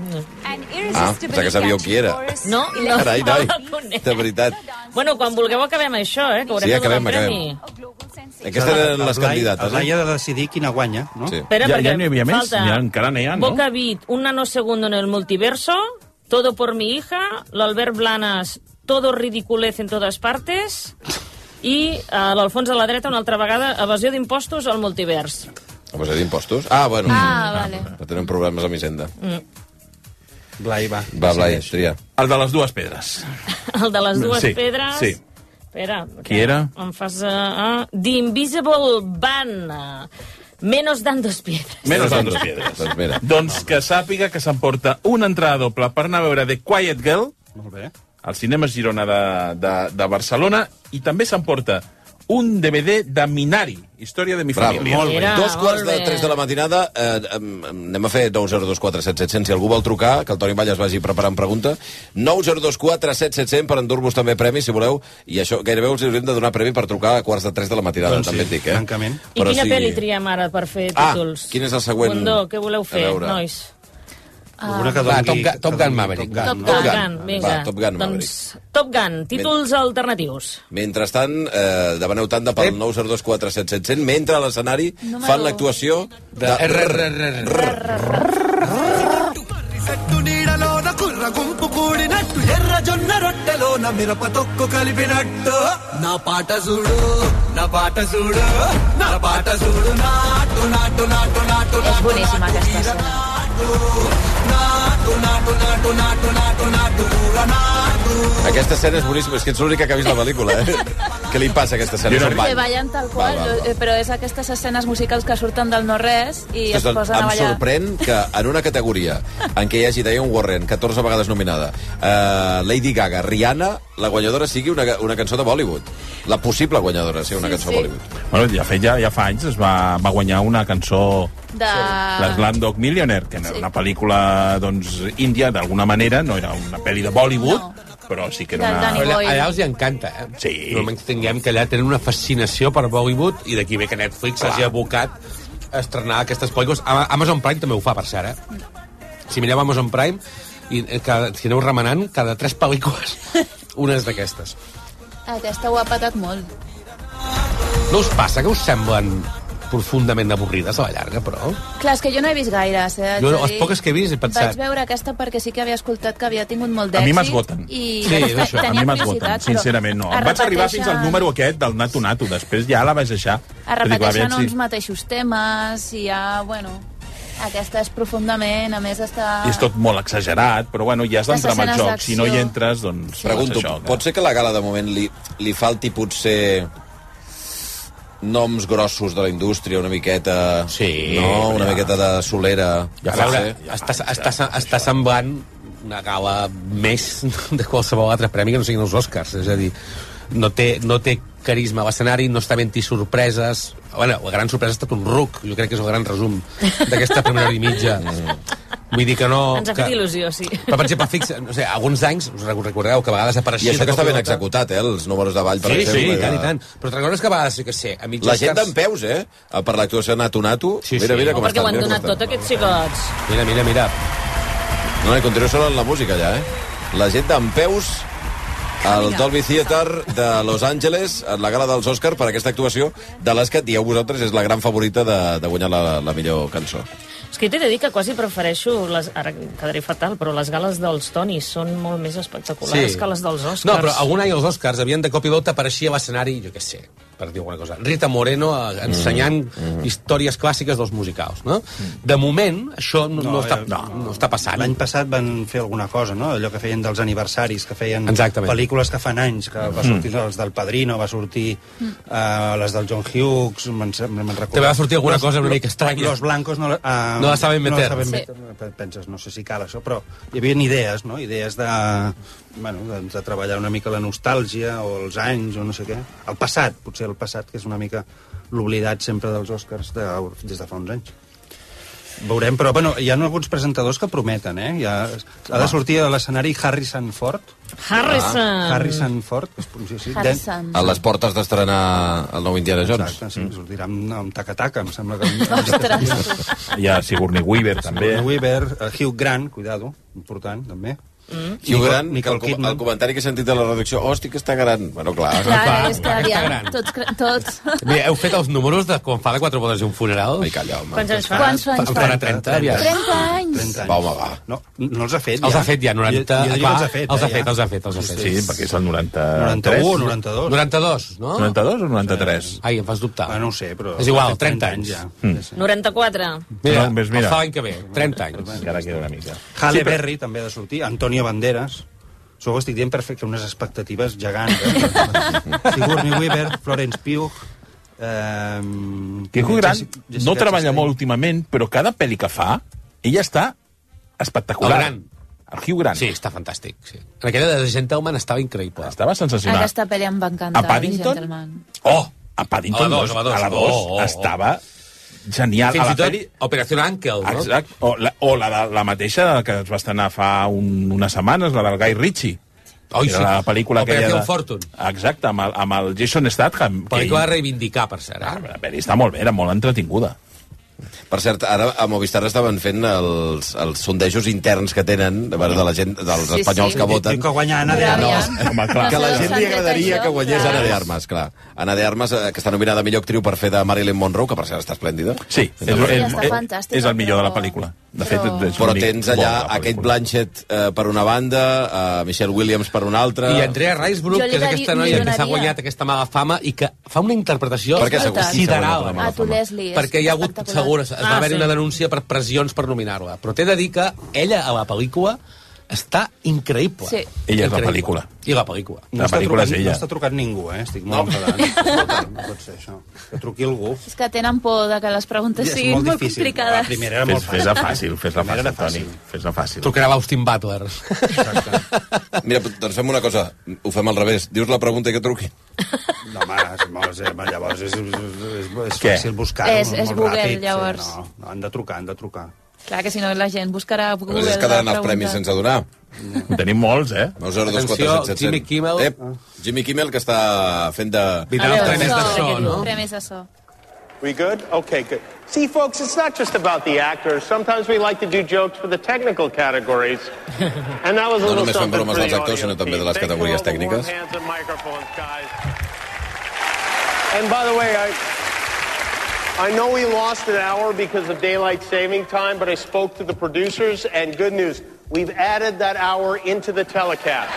Ah, pensava que sabíeu qui era.
No, no.
Carai,
(laughs)
noi, de veritat.
Bueno, quan vulgueu acabem això, eh? Que haurem
Sí,
de donar
acabem,
el premi.
acabem. Aquestes eren les
El Blai-
candidates,
El Blai
eh?
ha de decidir quina guanya, no?
Sí.
Espera,
Ja- ja
perquè
n'hi havia més?
falta
N'hi ha- encara n'hi ha, no?
Boca Beat, un nanosegundo en el multiverso, Todo por mi hija, l'Albert Blanes, Todo ridiculez en todas partes, i a l'Alfons a la dreta una altra vegada evasió d'impostos al multivers.
Com és d'impostos? Ah, bueno.
Ah, vale. Mm.
No tenen problemes amb Hisenda.
Blai, va.
Va, Blai, tria.
El de les dues pedres.
(laughs) El de les dues
Sí,
pedres...
sí.
Espera.
Qui
que
era?
Em fas... Uh, uh, The Invisible Van. Menos dan dos piedras.
Menos
Doncs-
dan dos piedres.
Doncs mira.
Doncs que sàpiga que s'emporta una entrada doble per anar a veure The Quiet Girl
Molt bé.
al cinema Girona de, de, de Barcelona i també s'emporta un DVD de Minari, Història de mi
Bravo.
família.
Molt
bé. Era,
Dos quarts
molt
de
bé.
3 de la matinada. Eh, em- em- anem a fer 9024777. Si algú vol trucar, que el Toni Valla es vagi preparant pregunta. 9024777 per endur-vos també premis, si voleu. I això gairebé us hauríem de donar premi per trucar a quarts de 3 de la matinada,
Doncs sí,
també et dic, eh?
francament.
I quina sí... pel·li triem ara per fer
Ah,
títols?
quin és el següent?
Condó, què voleu fer,
A veure.
nois?
Alguna que
Va,
doni-
Top Gun- Top
que doni
Gun Maverick.
Top Gun,
Top
no?
Gun,
Top Gun.
vinga.
Va, Top Gun,
doncs, Top Gun, títols alternatius.
Mentrestant, eh, demaneu tanda pel 9024777 mentre a l'escenari
Número
fan l'actuació de...
చెట్టు నీడలోన కుర్ర గుంపు కూడినట్టు ఎర్ర జొన్న రొట్టెలోన మిరప తొక్కు కలిపినట్టు నా పాట చూడు నా పాట చూడు నా పాట చూడు నాటు నాటు నాటు నాటు
És
నాటు
boníssima aquesta escena.
నాటు నాటు నాటు నాటు నాటు నాటు ఊర నాటు
Aquesta escena és boníssima, és que ets l'única que ha vist la pel·lícula, eh? Què li passa a aquesta escena?
Jo no
Se'n
Que
balla.
ballen tal qual,
Va, va, va.
eh, però és aquestes escenes musicals que surten del no-res i es
Doncs
posen a
em
ballar.
sorprèn que en una categoria en què hi hagi Diane Warren, 14 vegades nominada, eh, Lady Gaga, Rihanna, la guanyadora sigui una, ca- una cançó de Bollywood. La possible guanyadora sigui una
Sí,
cançó
sí.
de Bollywood.
Bueno, ja, fet, ja, ja fa anys es va, va guanyar una cançó
De...
Les Landog Millionaire, que era una pel·lícula doncs, índia, d'alguna manera, no era una pel·li de Bollywood, no. però sí que era
Del Danny
una...
Allà,
Boy.
allà els hi encanta, eh?
Sí.
No menys tinguem que allà tenen una fascinació per Bollywood i d'aquí ve que Netflix hagi abocat a estrenar aquestes pel·lícules. Ama- Amazon Prime també ho fa, per cert, eh? Si mireu Amazon Prime, i, eh, cada, si aneu remenant, cada tres pel·lícules, una és d'aquestes.
Aquesta ho ha patat molt.
No us passa que us semblen profundament avorrides a la llarga, però...
Clar, és que jo no he vist gaires, eh? haig
Jo,
de
les
dir.
poques que he vist, he pensat-
Vaig veure aquesta perquè sí que havia escoltat que havia tingut molt
A mi
d'èxit.
m'esgoten.
I...
Sí, és això.
Tenia
a mi
curiositat,
m'esgoten,
però
sincerament no. Em
es
vaig arribar fins al
repeteixen-
número aquest del Nato Nato, després ja la vaig deixar.
Es
Dic, va,
repeteixen
aviam si-
uns mateixos temes i ja, bueno... Aquesta és profundament, a més està...
I és tot molt exagerat, però bueno, ja has
Les
d'entrar amb el
escenes
joc. Si no hi
d'acció.
entres, doncs...
Sí. Pregunto,
fas
pot ser que a la gala de moment li, li falti potser noms grossos de la indústria, una miqueta...
Sí,
No? Una
ja.
miqueta de solera.
Ja a veure, està, està, està, està semblant una gala més (laughs) de qualsevol altre premi que no siguin els Oscars. És a dir, no té, no té carisma a l'escenari, no està venint sorpreses. Bueno, la gran sorpresa ha estat un ruc. Jo crec que és el gran resum d'aquesta primera hora i
(laughs)
mitja. Vull dir que no...
Ens ha
Oh, que...
fet il·lusió, sí.
Però, per exemple, fixa, no sé, alguns anys, us recordeu que a vegades
I
apareixia...
això
de
que està
cop i
ben
volta-
executat, eh? Els números de ball, per
Sí,
exemple.
sí, i
que-
tant, i tant. Però te'n recordes que a vegades, jo què sé, a mig
La gent
Oscars-
d'en peus, eh? Per l'actuació de Nato Nato.
Sí,
mira,
sí.
mira
No,
com
(laughs) perquè
estan.
ho han
mira com
donat
estan.
tot, aquests xicots.
Mira, mira, mira.
No, i continua sonant la música, ja, eh? La gent d'en peus
Ah,
al Dolby Theater de Los Angeles en la gala dels Oscars per aquesta actuació de les que dieu vosaltres és la gran favorita de, de guanyar la, la millor cançó.
És que t'he de dir que quasi prefereixo... Les... Ara quedaré fatal, però les gales dels Tonys són molt més espectaculars que les dels Oscars.
No, però algun any els Oscars havien de cop i volta apareixia a l'escenari, jo què sé, per dir alguna cosa, Rita Moreno eh, ensenyant mm, mm. històries clàssiques dels musicals, no? De moment, això no, no, no, està, no, no està passant.
L'any passat van fer alguna cosa, no? Allò que feien dels aniversaris, que feien
Exactament.
pel·lícules que fan anys, que va
Mm.
sortir els del Padrino, va sortir uh, les del John Hughes, me'n me recordo.
També va sortir alguna cosa una mica estranya.
Los blancos no, la- ah,
No la saben meter.
No la saben
Sí.
meter. Pe- Penses, no sé si cal això, però hi havia idees, no? Idees de, bueno, de, de treballar una mica la nostàlgia o els anys o no sé què. El passat, potser el passat, que és una mica l'oblidat sempre dels Oscars de, des de fa uns anys. Veurem, però bueno, hi ha alguns presentadors que prometen, eh? Hi ha, ha de sortir a l'escenari Harrison Ford.
Harrison.
Ah, Harrison Ford, que es pronuncia així.
Harrison.
A les portes d'estrenar el nou Indiana Jones.
Exacte, sí, mm. sortirà amb, amb taca-taca, em sembla que...
Hi ha Sigourney Weaver, també.
Sigourney Weaver, eh, Hugh Grant, cuidado, important, també. Mm.
Hugh Grant, que el, com- el comentari que he sentit de la reducció, hosti, que està gran. Bueno, clar.
Clar,
Clar,
és que aviam, tots... cre- tots.
Mira, heu fet els números de quan fa de quatre bodes i un funeral? Ai,
calla, home.
Quants anys fa? Quants anys
fa?
fa?
Farà 30, aviat.
30 anys.
30 anys.
Va, home, va.
No, no els ha fet, ja.
Els ha fet ja, 90...
Jo, jo
clar,
diria que els ha fet,
els
eh,
ha fet,
ja.
els ha fet, els ha fet.
Sí, perquè és el 90...
91, 92.
92, no?
92 o 93?
Ai, em fas dubtar.
Ah, no ho sé, però...
És igual,
ha fet
30 anys.
ja.
Mm.
94.
Mira,
No, més
el
mira.
fa l'any que ve, 30 anys.
Encara queda una mica.
Halle sí, Berry també ha de sortir, Antonio Banderas. Això ho estic dient per fer que unes expectatives gegants. Eh? Sigourney Weaver, Florence Pugh... Eh,
Que Hugh Grant no treballa molt últimament, però cada pel·li que fa, ella està espectacular.
El Grant.
El Hugh Grant.
Sí, està fantàstic. Sí. En aquella de The Gentleman estava increïble.
Estava sensacional.
Aquesta pel·li em va encantar.
A Paddington?
The Gentleman.
Oh, a Paddington
A la dos, a
2,
la dos.
a la 2,
Oh, oh, oh.
estava genial.
Fins
a la
i tot
pel·li-
Operació Ankel, no?
Exacte. O, la, o la, de- la mateixa que es va estrenar fa un, unes setmanes, la del Guy Ritchie.
Oi,
Era
sí.
La pel·lícula aquella
Operación
de...
Fortune.
Exacte, amb el, amb el Jason Statham. que
Pel·lícula
ell-
a reivindicar, per cert.
Ah,
Eh?
la pel·li està molt bé, era molt entretinguda.
Per cert, ara a Movistar estaven fent els, els sondejos interns que tenen de, de la gent, dels
Sí,
espanyols
sí.
que voten.
Que guanya Anna de
No,
Armas.
home, clar. que a la
No sé,
gent
s'han
li
fet
agradaria
això,
que guanyés
clar.
Anna de Armas, clar. Anna de Armas, eh, que està nominada a millor actriu per fer de Marilyn Monroe, que per cert està esplèndida.
Sí, és,
Però-
és,
està
és,
fantàstica,
és el millor de la
però-
pel·lícula. De fet,
però-
és
Però
l'únic
tens
bo
allà
de la pel·lícula.
aquest Blanchett eh, per una banda, eh, Michelle Williams per una altra...
I Andrea Riseborough,
Jo li
que és
daria-
aquesta
li
noia que s'ha
donaria.
guanyat aquesta mala fama i que fa una interpretació
Per què s'ha guanyat- s'ha
sideral. eh?
guanyat la
Ah, tu, Leslie. és
perquè hi ha hagut,
espectacular.
segur, es es va
Ah,
haver
sí.
una denúncia per pressions per nominar-la. Però t'he de dir que ella, a la pel·lícula, està increïble.
Sí.
Ella és la
Increïble.
pel·lícula.
I la pel·lícula.
La pel·lícula és
trucat,
ella.
No està trucat ningú, eh? Estic molt no. enfadat. No pot ser això. Que truqui algú.
És que tenen por de que les preguntes
és
siguin
molt
molt,
difícil. La
complicades.
primera era molt
Fes- Fes-la
fàcil.
fàcil, fes-la fàcil,
Primera era
Toni.
fàcil.
Fes-la fàcil.
Trucarà l'Austin Butler. (laughs)
(laughs) Mira, doncs fem una cosa, ho fem al revés. Dius la pregunta i que truqui.
No, home, és molt, eh, llavors és, és, és, és
Què?
fàcil buscar-ho.
És- és
molt
Google,
ràpid, sí,
llavors.
no, no, han de trucar, han de trucar.
Clar que si no la gent buscarà a Google
Google es
la
quedaran els
pregunta.
premis sense donar.
En tenim molts, eh?
902477700.
Jimmy Kimmel.
Ep, Jimmy Kimmel, que està fent de...
A
Vindrà
veure,
els premis de
això,
so, no?
Premis de so.
We good? Okay, good. See, folks, it's not just about the actors. Sometimes we like to do jokes for the technical categories. And that was a
No
little
només fan
something
bromes
for the
dels actors, sinó
audience
també de les
team. Thanks
categories
for all the warm
tècniques.
hands and microphones, guys. And by the way, I, I know we lost an hour because of daylight saving time, but I spoke to the producers, and good news, we've added that hour into the telecast.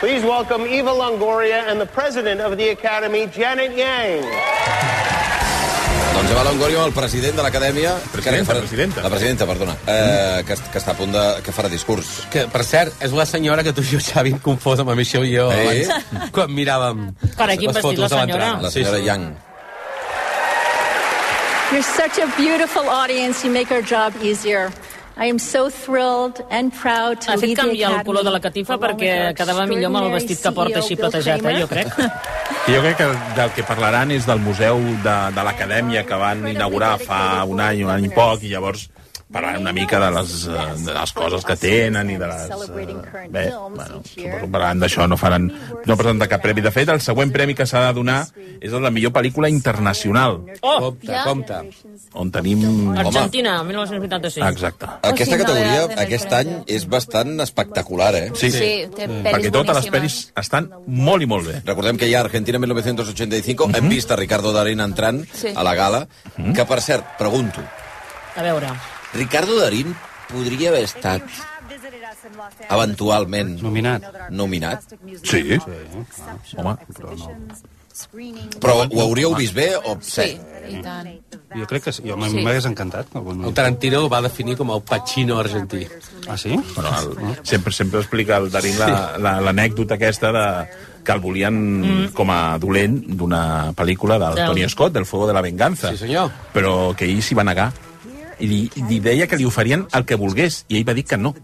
(laughs) Please welcome Eva Longoria and the president of the Academy, Janet Yang.
Doncs Eva Longoria, el president de l'acadèmia...
Presidenta,
que farà-
presidenta.
La presidenta, perdona. Eh, que, que està a punt de... que farà discurs.
Que, per cert, és la senyora que tu i jo, Xavi, em confós amb la Michelle i jo
Eh?
abans, quan miràvem
Carai, quin
les
vestit,
fotos
la
de
senyora.
l'entrada.
La senyora Yang.
You're such a beautiful audience. You make our job easier. I am so thrilled and proud to
Ha fet
lead the
canviar el color de la
Academy,
catifa
along
perquè
with our
quedava millor amb el
extraordinary
vestit que porta
CEO
així
Bill
platejat, eh,
Kramer.
jo crec.
I jo crec que del que parlaran és del museu de, de l'acadèmia que van inaugurar fa un any, un any i poc, i llavors parlaran una mica de les, eh, de les coses que tenen i de les... eh, Bé, bueno, suposo que parlaran d'això, no faran... No presenten cap premi. De fet, el següent premi que s'ha de donar és el de millor pel·lícula internacional,
Oh,
Compte, compte.
on tenim...
Argentina, 1986.
Exacte.
Aquesta
no,
categoria,
de- de-
aquest any, és bastant espectacular, eh?
Sí,
Sí,
sí.
té pel·lis
Perquè totes les pel·lis
boníssimes.
estan molt i molt bé.
Recordem que hi ha Argentina 1985, hem vist a Ricardo Darín entrant
Sí.
a la gala, que, per cert, pregunto,
A veure.
Ricardo Darín podria haver estat eventualment nominat. nominat.
Sí. sí.
Home, però no. Però ho hauríeu vist bé o...
Sí, i tant.
Jo crec que sí. Jo
Sí.
m'hagués encantat.
El Mm. Tarantino el va definir com el Pacino argentí.
Ah, sí?
Bueno, el, sempre, sempre explica el Darín la- la- l'anècdota la, aquesta de que el volien mm. com a dolent d'una pel·lícula del
Del-
Tony Scott, del Fuego de la Venganza. Sí, senyor. Però que ell s'hi va negar. I li, li deia que li oferien el que volgués, i ell va dir que no.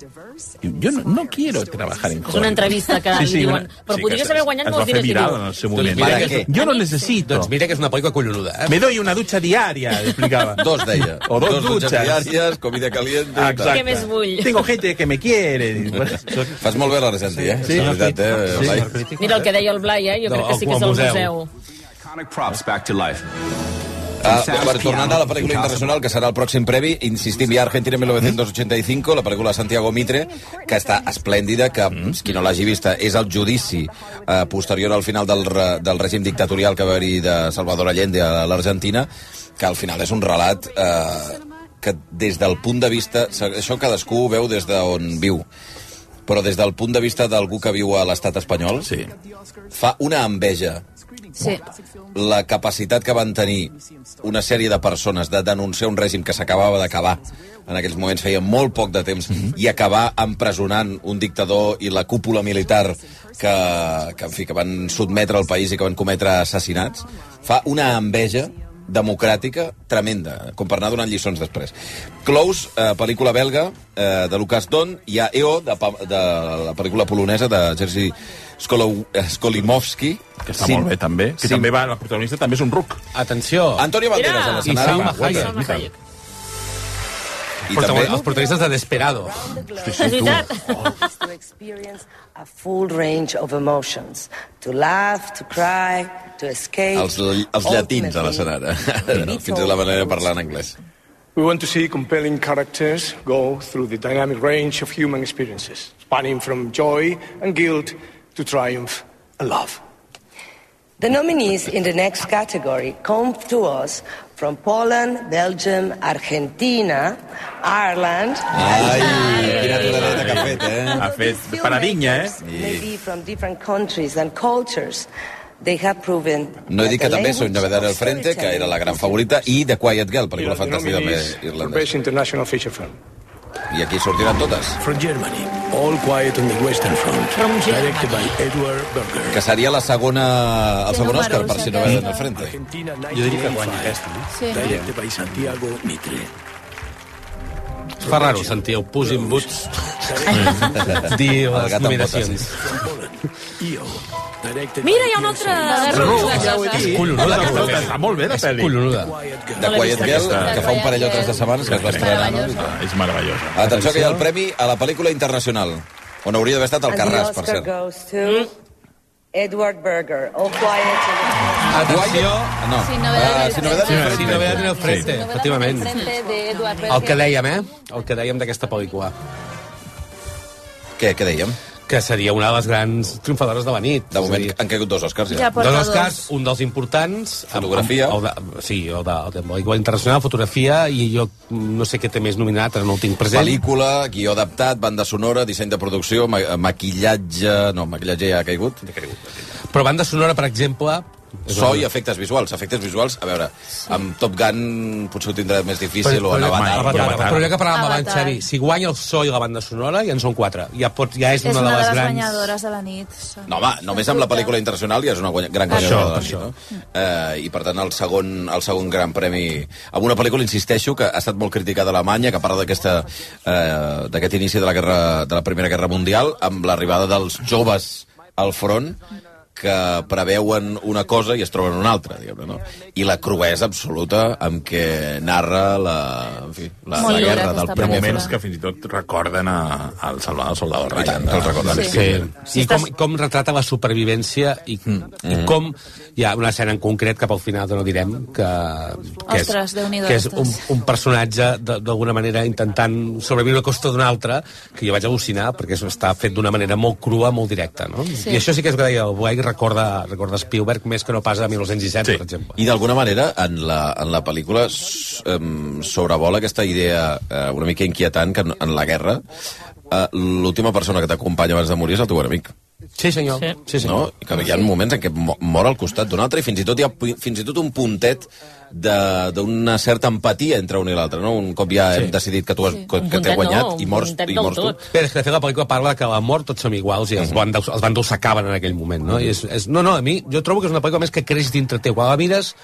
Diu, Jo no, no quiero trabajar en
És una entrevista
(laughs)
que li diuen, "Però podries
que
haver guanyat
es
molts
va fer
diners", i
viral
diu,
en el seu
"Doncs
moment.
mira
Para
que-
què? Jo no necessito.
Doncs mira que és una pel·lícula collonuda, eh?
Me doy una dutxa diària, explicava.
Dos, deia.
O dos,
Dos dutxes diàries, comida caliente... tal.
Ah, Exacte.
Què més vull?
Tengo gente que me quiere. (laughs)
Fas molt bé l'argentí, eh? Sí, la veritat, eh, Blai?
Mira el que deia el Blai, eh? Jo
No,
crec que sí que
al
és el
museu.
museu.
Props back to life.
Ah, per tornar a la pel·lícula internacional, que serà el pròxim previ, insistim, hi ha Argentina 1985, la pel·lícula de Santiago Mitre, que està esplèndida, que qui no l'hagi vista és el judici eh, posterior al final del, re, del règim dictatorial que va haver-hi de Salvador Allende a l'Argentina, que al final és un relat eh, que des del punt de vista... Això cadascú ho veu des d'on viu, però des del punt de vista d'algú que viu a l'estat espanyol,
sí.
fa una enveja
Sí.
la capacitat que van tenir una sèrie de persones de denunciar un règim que s'acabava d'acabar en aquells moments feia molt poc de temps mm
Mhm.
-hmm. i acabar empresonant un dictador i la cúpula militar que, que, en fi, que van sotmetre el país i que van cometre assassinats fa una enveja democràtica tremenda, com per anar donant lliçons després. Close, eh, pel·lícula belga eh, de Lucas Don, hi ha EO de, pa- de la pel·lícula polonesa de Jerzy Skolo- eh, Skolimowski
Que està molt bé, també. Que també va, la protagonista també és un ruc.
Atenció.
Antonio Banderas a l'escenari. Salma Hayek.
I també... Els protagonistes de Desperado.
És veritat. to experience a full range of emotions. To laugh, to cry, to escape.
Els, els llatins a l'escenari. (laughs) No, fins a la manera de parlar en anglès.
We want to see compelling characters go through the dynamic range of human experiences, spanning from joy and guilt to triumph and love.
The nominees in the next category come to us from Poland, Belgium, Argentina, Ireland.
Quina
tolereta que ha fet,
Ah,
eh?
Ha
doncs
fet paradinya, eh?
Maybe from different countries and cultures. They have proven
No he dit que
that the
també soy
language
novedad del
of
frente, que era la gran favorita, i The Quiet Girl, pel·lícula fantàstica també
For
irlandesa.
Best International Feature Film.
I aquí sortiran totes.
From Germany, All Quiet on the Western Front, directed by Edward Berger.
Que seria la segona, el segon Òscar, per si no veuen del
(laughs)
frente.
Argentina,
Jo diria que
1985,
guanya aquesta, no?
Sí. Directed by Santiago Mitre.
Es fa raro sentir el Puss in Boots
(laughs)
dir
El gat
les
amb
nominacions.
Io, directed
Mira, hi ha un altre de Ruc.
És collonuda, aquesta pel·li.
Està molt bé, la
És
pel·li.
collonuda.
The Quiet Girl, que fa un parell o tres de setmanes que es va estrenar. No?
És meravellosa.
Atenció, que hi ha el premi a la pel·lícula internacional, on hauria d'haver estat el
And the
Carràs, per
Oscar
cert.
goes to Edward Berger, All Quiet on the
Atenció. Ah, No.
Sin novedad en el frente.
Sin novedad en el frente, efectivament.
de Eduard
El que dèiem, eh? El que dèiem d'aquesta pel·lícula.
Què, què dèiem?
Que seria una de les grans triomfadores de la nit. De
moment han caigut dos Oscars,
ja. Ja porta
dos
dos.
Oscars, un dels importants. amb-
Fotografia.
Amb, el de, sí, el de, el de pel·lícula internacional, fotografia, i jo no sé què té més nominat, ara no el tinc present.
Pel·lícula, guió adaptat, banda sonora, disseny de producció, ma maquillatge... No, maquillatge ja ha caigut. Ja ha caigut.
Però banda sonora, per exemple...
So i efectes visuals. Efectes visuals, a veure, amb Top Gun potser ho tindrà més difícil, o en Avatar.
Avatar. Però ja que parlàvem abans,
Avatar.
Xavi, si guanya el so i la banda sonora, ja en són quatre. Ja, pot, ja és,
És una de les
grans...
guanyadores de la nit.
No, home, només amb la pel·lícula internacional ja és una guanya, gran guanyadora. Això, això. Eh, I, per tant, el segon, el segon gran premi... Amb una pel·lícula, insisteixo, que ha estat molt criticada a Alemanya, que parla d'aquesta, eh, d'aquest inici de la, guerra, de la Primera Guerra Mundial, amb l'arribada dels joves al front, que preveuen una cosa i es troben una altra, diguem-ne, no? I la cruesa absoluta amb què narra la, en fi, la, la guerra del
De
primer
moments que fins i tot recorden a, al Salvador Soldado Ryan.
tant, que el recorden.
Sí.
Sí. sí. Mm, I com, com retrata la supervivència i, i com... Hi ha una escena en concret, cap al final, que no direm, que, que
Ostres, Déu-n'hi-do,
que és un,
ostres.
un personatge de- d'alguna manera intentant sobreviure a costa d'un altre, que jo vaig al·lucinar perquè això està fet d'una manera molt crua, molt directa. No?
Sí.
Sí. I això sí que és el que deia el Blai, recorda, recorda Spielberg més que no pas a 1917, sí. per exemple.
I d'alguna manera, en la, en la pel·lícula s- em, sobrevola aquesta idea eh, una mica inquietant que en, en la guerra eh, l'última persona que t'acompanya abans de morir és el teu enemic.
Sí, senyor. Sí, sí
No?
senyor.
I Que hi ha moments en què mo- mor al costat d'un altre i fins i tot hi ha pu- fins i tot un puntet de- d'una certa empatia entre un i l'altre, no? Un cop ja hem decidit que tu has, que, que t'he
puntet no,
guanyat
un
i mors,
puntet
i
del
mors tu.
tot.
Bé, és que de fet la pel·lícula parla que a la mort tots som iguals i els bandos, els bandos s'acaben en aquell moment, no? I és, és, no, no, a mi, jo trobo que és una pel·lícula més que creix dintre teu. Quan la mires,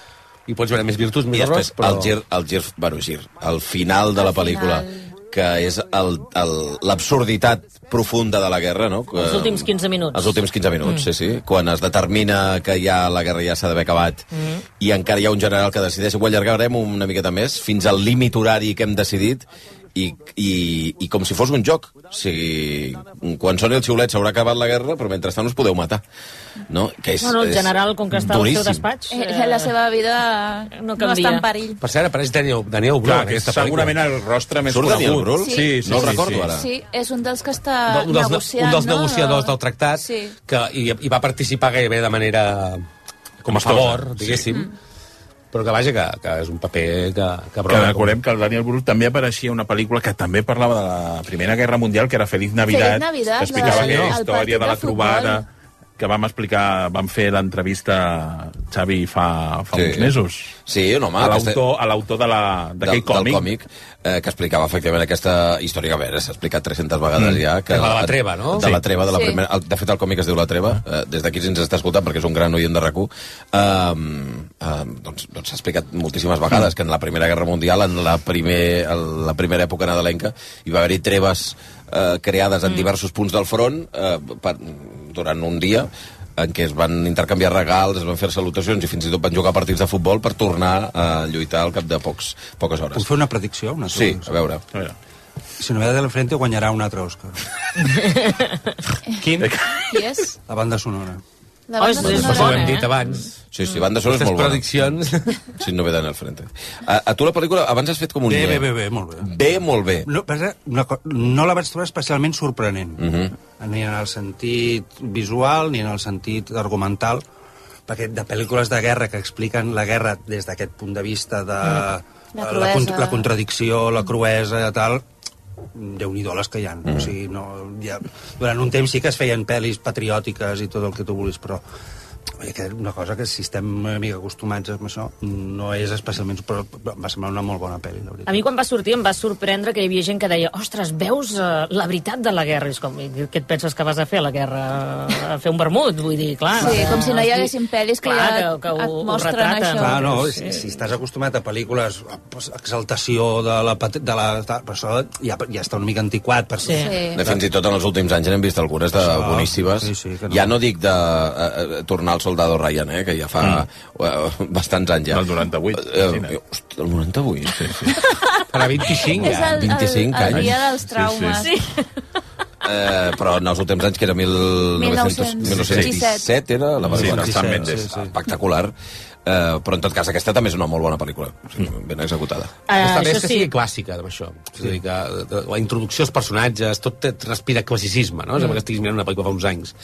i pots veure més virtuts,
I
més
després,
errors, però...
el gir, el gir, bueno, gir, el final de la pel·lícula, que és el- el- l'absurditat profunda de la guerra, no? Que,
Els últims 15 minuts.
Els últims 15 minuts, mm. sí, sí. Quan es determina que ja la guerra ja s'ha d'haver acabat mm. i encara hi ha un general que decideix ho allargarem una miqueta més fins al límit horari que hem decidit i, i, i com si fos un joc. O sigui, quan soni el xiulet s'haurà acabat la guerra, però mentrestant us podeu matar. No? Que és,
Bueno, el
és
general, com que està al seu
duríssim.
despatx...
Eh, la seva vida no,
canvia.
no està en perill.
Per cert, apareix Daniel, Daniel Brühl.
Clar, que és segurament
el rostre
més Surt Daniel conegut. Brühl?
Sí, sí,
No el
sí,
recordo
sí.
ara.
Sí, és un dels que està
un dels,
Ah, negociant,
un dels
no?
negociadors del tractat
Sí.
que hi, hi va participar gairebé de manera com a
Amistosa,
favor,
sí.
diguéssim.
Mm.
Però que vaja, que, que és un paper que... Que,
Que recordem que el Daniel Brühl també apareixia en una pel·lícula que també parlava de la Primera Guerra Mundial, que era Feliz Navidad,
Feliz Navidad,
que explicava
la-
aquella
el partit
història de
de
la
futbol.
trobada que vam explicar, vam fer l'entrevista Xavi fa, fa sí. uns mesos.
Sí, un home.
A
aquesta-
l'autor a l'autor de la-
del,
d'aquell còmic.
del còmic eh, que explicava efectivament aquesta història que a veure, s'ha explicat 300 vegades
Mm.
ja que
De la La Treva, no?
de la
Sí.
treva de, la
Sí.
primera, el, de fet el còmic es diu La Treva eh, des d'aquí si ens està escoltant perquè és un gran oient de RAC1 um, um, doncs s'ha doncs s'ha explicat moltíssimes vegades que en la Primera Guerra Mundial en la, primer, en la primera època nadalenca hi va haver-hi treves eh, creades en diversos punts del front eh, per, durant un dia en què es van intercanviar regals, es van fer salutacions i fins i tot van jugar partits de futbol per tornar a lluitar al cap de pocs, poques hores.
Puc fer una predicció? Una
Sí, a veure.
Si no ve de la frente guanyarà un altre Òscar.
(laughs)
Quin?
Qui és?
La banda sonora.
oh,
La banda
és
sonora,
Ho hem
eh?
dit
Ah.
abans.
Sí, sí, banda sonora és molt bona.
prediccions...
Sin novedad en el frente. A, a tu la pel·lícula abans has fet com un...
Bé,
nyé.
bé, bé, bé, molt bé.
Bé, molt bé.
No, passa, una, co- no la vaig trobar especialment sorprenent.
Mm -hmm.
ni en el sentit visual ni en el sentit argumental perquè de pel·lícules de guerra que expliquen la guerra des d'aquest punt de vista de
La
eh,
cruesa.
la contradicció, la cruesa i tal déu nhi les que hi ha. Mm. O sigui, no, ja, durant un temps sí que es feien pel·lis patriòtiques i tot el que tu vulguis, però vull dir que una cosa que si estem una mica acostumats a això no és especialment... Però em va semblar una molt bona pel·li, la veritat.
A mi quan va sortir em va sorprendre que hi havia gent que deia ostres, veus eh, la veritat de la guerra? I És com, "I què et penses que vas a fer a la guerra? A fer un vermut? Vull dir, clar...
Sí, com si no hi
hosti,
haguessin pel·lis que
clar,
ja
que, que ho,
et mostren
ho retraten.
això.
Clar, no, si, si estàs acostumat a pel·lícules a, pues, exaltació de la... pat- De la de, per això ja, ja està una mica antiquat. Per
Sí. De, fins i tot en els últims anys n'hem vist algunes de
Això,
boníssimes.
sí, sí, que no.
Ja no dic de eh, eh, tornar al soldado Ryan, eh, que ja fa eh, bastants anys ja. Del
98.
Eh, hosti, el 98? Sí, sí.
Farà 25
És el,
25
el, el
anys.
dia dels traumes.
Sí, Eh, però en els últims anys, que era 1900, 1917, era la
Sí,
pel·lícula.
de Sam Mendes.
Espectacular. Eh, però en tot cas, aquesta també és una molt bona pel·lícula. O sigui, ben executada.
Eh,
Ah,
Està bé
això
és que
sí.
sigui clàssica, amb això. És a dir, que eh, la introducció als personatges, tot té- respira classicisme, no? Mm. Sembla que estiguis mirant una pel·lícula fa uns anys.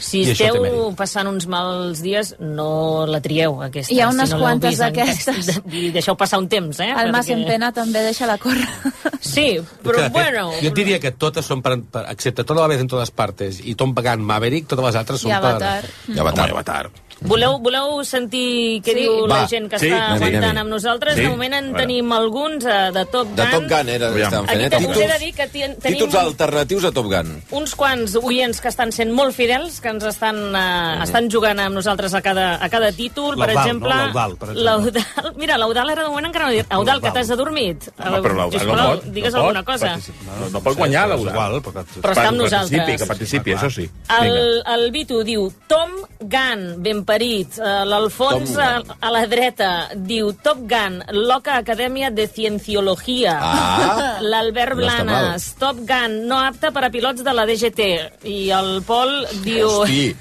Si
I això té
esteu
mèrit.
passant uns mals dies, no la trieu, aquesta.
Hi ha unes
si no l'heu
quantes
vist en-
d'aquestes.
I deixeu passar un temps, eh?
El Mas en Pena també deixa la córrer. (laughs)
Sí, però
Que, de fet,
bueno...
Jo et diria que totes són per, per excepte tota la vez en totes partes i Tom Pagan Maverick, totes les altres són
I Avatar.
Mm.
per...
I Avatar.
Home, Avatar.
Voleu, voleu sentir
Sí.
què sí. diu la
Va,
gent que
sí,
sí, està
anem-hi,
aguantant
anem-hi.
amb nosaltres?
Sí.
De moment en
A veure.
tenim alguns eh, de Top Gun.
De Top Gun era que estàvem fent,
Aquí
eh?
te- us he de
Títols,
dir que ten- tenim
títols alternatius a Top Gun.
uns quants oients que estan sent molt fidels, que ens estan, eh, estan jugant amb nosaltres a cada, a cada títol. Per
L'Eudald,
exemple,
Mhm. no? L'Eudald, per exemple.
l'Eudald... Mira, l'Eudal era de moment encara no dit. Eudal, que t'has adormit.
Home, però la,
Sisplau,
no pot,
digues
no pot
alguna cosa.
participar. No, no pot guanyar, la Igual,
però,
Però està amb nosaltres.
Participi, que participi, això sí.
El, el Vito diu Tom Gunn, ben parit. Eh, L'Alfons
Tom
a, a la dreta diu Top Gun, loca acadèmia de cienciologia.
Ah.
(laughs) L'Albert
No està
Blanes, Top Gun, no apta per a pilots de la DGT. I el Pol diu...
Hosti,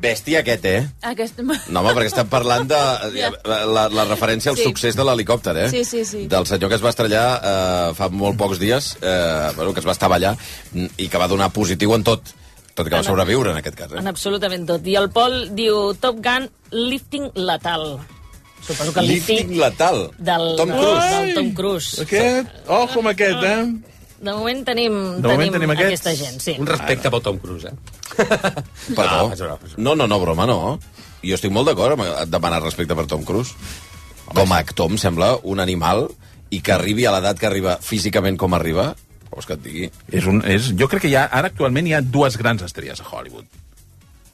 bèstia aquest, eh?
Aquest...
No, home, perquè estem parlant de eh,
Ja.
la, la, la referència al
Sí.
sí. succés de l'helicòpter, eh?
Sí, sí, sí.
Del senyor que es va estrellar eh, fa molt pocs dies, eh, bueno, que es va estavellar mm, i que va donar positiu en tot Tot i que va sobreviure, en aquest cas. Eh?
(laughs) En absolutament tot. I el Pol diu Top Gun Lifting Letal. Suposo que lifting...
Lifting letal.
Del,
Tom
del-
Cruise.
Del Tom Cruise.
Aquest, ojo amb aquest, eh?
De moment tenim,
De moment tenim aquests.
aquesta gent, sí.
Un respecte pel Tom Cruise, eh?
Perdó. No, no, no, broma, no. Jo estic molt d'acord amb demanar respecte per Tom Cruise. Com a actor em sembla un animal i que arribi a l'edat que arriba físicament com arriba, què vols que et digui?
És un, és, jo crec que hi ha, ara actualment hi ha dues grans estrelles a Hollywood.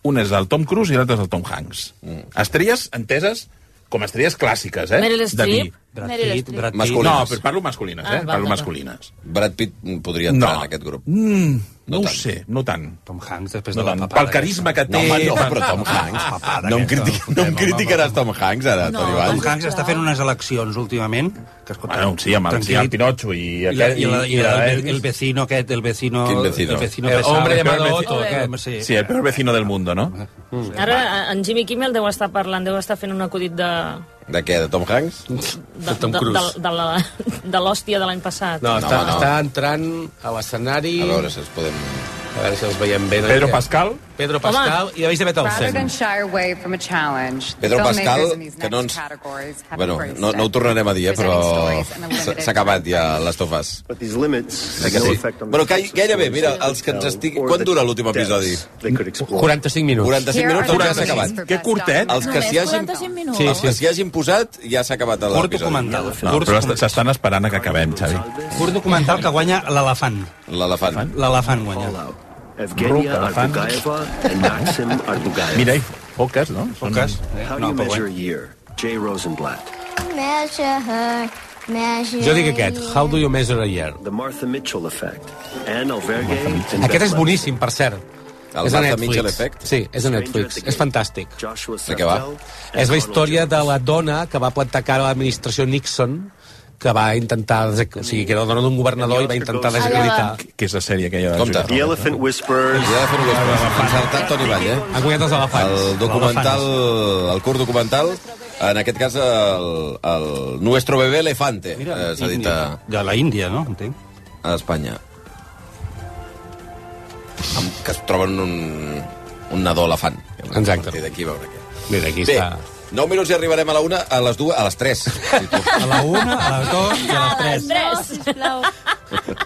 Una és el Tom Cruise i l'altra és el Tom Hanks. Mm. Estrelles enteses com estrelles clàssiques, eh?
Meryl
De mi.
Streep. Meryl Streep.
Masculines. No, però parlo masculines,
Ah,
eh?
val,
parlo
val.
masculines.
Brad Pitt podria entrar
No.
en aquest grup.
Mm, no,
No
no ho
tant.
sé, no tant.
Tom Hanks, després
No
de la
tant.
papada.
Pel carisma que té... ah,
No, home, no, però Tom Hanks. No em, criti no em criticaràs Tom Hanks ara,
No,
Toni
Tom
Valls.
Hanks està fent unes eleccions últimament. Que, escolta,
Bueno, sí, amb el, sí, el
tranquil·lit.
Pinocho i... Ah, eh,
I, la, i, la, i, la, el, el
Elvis.
vecino aquest, el vecino...
Quin vecino?
El vecino
El
pesado.
hombre llamado
peor
Otto,
vecino.
aquest.
Sí.
eh, Sí, el peor vecino del mundo, no?
Ara eh, en Jimmy Kimmel deu estar parlant, deu estar fent un acudit de,
De què, de Tom Hanks?
de, de, de, de, de, la- de l'hòstia de l'any passat.
No, està,
home, no.
està entrant a l'escenari...
A veure si els podem...
A veure si els veiem bé.
Pedro Pascal?
Pedro Pascal i David
Rather
Beethoven.
than shy away from a challenge,
Pedro
filmmakers
Pascal,
in these
que
next
no ens-
categories have
Bueno,
embraced
no, no ho
it.
tornarem a dir, eh, però
Presenting stories in a
s'ha
limited
s'ha acabat ja les tofes.
But these limits
Sí que sí. Però que, gairebé, mira, els que ens estigui... Quan dura l'últim episodi?
45 minuts.
45 minuts doncs ja s'ha acabat.
Que curtet.
Els que s'hi hagin...
minuts.
Sí, sí. Els que s'hi hagin posat ja s'ha acabat l'episodi.
Curt documental.
No,
Curt
però est- s'estan esperant a que acabem, Xavi.
Curt documental que guanya l'elefant.
L'elefant.
L'elefant guanya.
Ruc, elefant. Mira, i foques, no? Són-
Cas?
How do
No,
you
però
measure a
bueno.
year? Jay Rosenblatt.
Measure her, measure
Jo dic aquest,
you.
How do you measure a year?
The Martha Mitchell effect. Anne Albergue. and
Aquest
Beth
és boníssim, per cert.
El
és a
Martha
Netflix.
Mitchell Effect?
Sí, és a
Stranger
Netflix.
at the
És fantàstic.
Gate, Joshua
De què va?
Sartell,
És la
and
història de la dona que va plantar cara a l'administració Nixon que va intentar... desec- O sigui, que era la dona d'un governador i va intentar desacreditar.
Que és la sèrie aquella de
Compte.
Julia
The
Roberts.
Elephant Whisperers.
Ja de fer un gos. S'ha saltat Toni Vall, eh?
Han guanyat els elefants.
El documental, el curt documental, en aquest cas el, el Nuestro Bebé Elefante, eh, s'ha dit a,
De la Índia, no? Entenc.
a Espanya. Amb, que es troben un, un nadó elefant.
Exacte.
A partir d'aquí a veure què.
Mira, aquí
Bé,
està.
9 minuts i arribarem a la una, a les dues, a les 3.
A la una, a les dues i a les tres.
No, sisplau.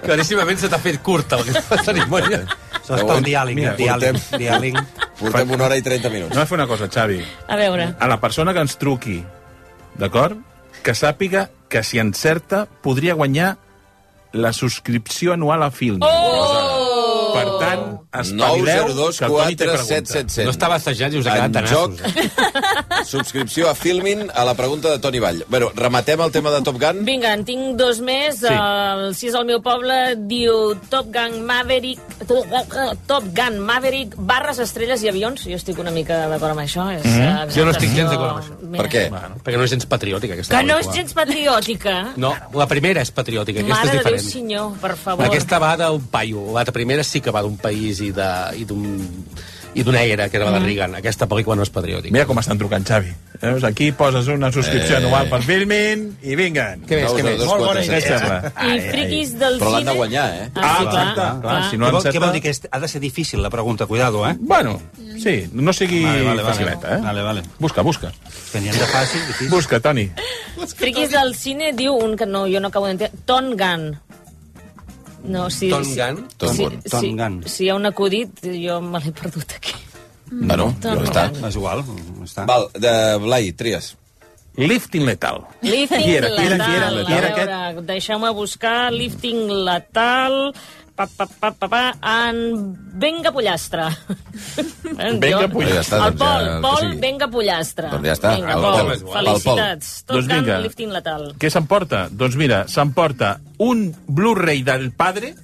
Claríssimament se t'ha fet curta aquesta cerimònia.
Això està el diàling,
Mira,
el diàling.
portem-
diàling.
Portem una hora i 30 minuts.
No, fer una cosa, Xavi.
A veure,
A la persona que ens truqui, d'acord? Que sàpiga que si encerta podria guanyar la subscripció anual a Film. Oh! Per tant, espavileu
902
que el Toni té
4 7
pregunta.
7 7.
No estava assajat i us ha quedat
en
tan
joc,
assos. eh?
subscripció a Filmin a la pregunta de Toni Vall. Bueno, rematem el tema de Top Gun.
vinga, en tinc dos més. Sí. El Si és el meu poble diu Top Gun Maverick... Top Gun Maverick, barres, estrelles i avions. Jo estic una mica d'acord amb això. És, mm -hmm.
Mhm. Jo no estic gens d'acord amb això.
Per què?
Bueno, perquè no és gens patriòtica, aquesta
Que no és
pel·lícula.
gens patriòtica.
No, la primera és patriòtica, aquesta
Mare
és
de Déu,
diferent.
senyor, per favor.
Aquesta va d'un paio. La primera sí que va d'un país i de- i d'un i d'una era, que
Mm.
era la de Reagan. Aquesta pel·lícula no és patriòtica.
Mira com estan trucant, Xavi. Veus, aquí poses una
Eh.
subscripció anual per Filmin i vinguen.
Què més, què més?
902
Molt bona
4
idea.
7 7.
sembla.
I friquis del
Però l'han de
cine-
guanyar, eh?
Ah, sí, clar,
Clar,
clar.
clar, si no
Què vol, què
encerta...
vol dir? Que és- ha de ser difícil, la pregunta. Cuidado, eh?
Bueno, sí, no sigui
Vale, vale, vale.
facileta, eh?
Vale, vale.
Busca, busca.
Que n'hi ha de fàcil, difícil.
Busca, Toni.
Friquis del cine diu un que no, jo no acabo d'entendre. Ton Gun. No, sí,
Tom
sí,
Gunn?
Tom
sí,
Gunn.
Tom
sí,
Gunn.
Si hi ha un acudit, jo me l'he perdut aquí.
Bueno, ja
Tom
està.
Gunn.
És igual, està.
Val, de Blai, tries.
Lifting Letal.
Lifting
Qui era, qui era, qui era,
letal.
qui era
A veure, Deixeu-me buscar lifting letal. Pa, pa, pa, pa, pa, en Venga
(laughs)
Pollastre.
Venga
Jo-
Pollastre.
Ja està,
El
doncs
Pol,
ja, el que
Pol,
sigui.
Venga Pollastre.
Doncs ja està,
Vinga,
el
Pol,
Pol. Pel Pol.
felicitats. Tot
Doncs vinga.
Gun, lifting letal.
Què s'emporta? Doncs mira, s'emporta un Blu-ray del padre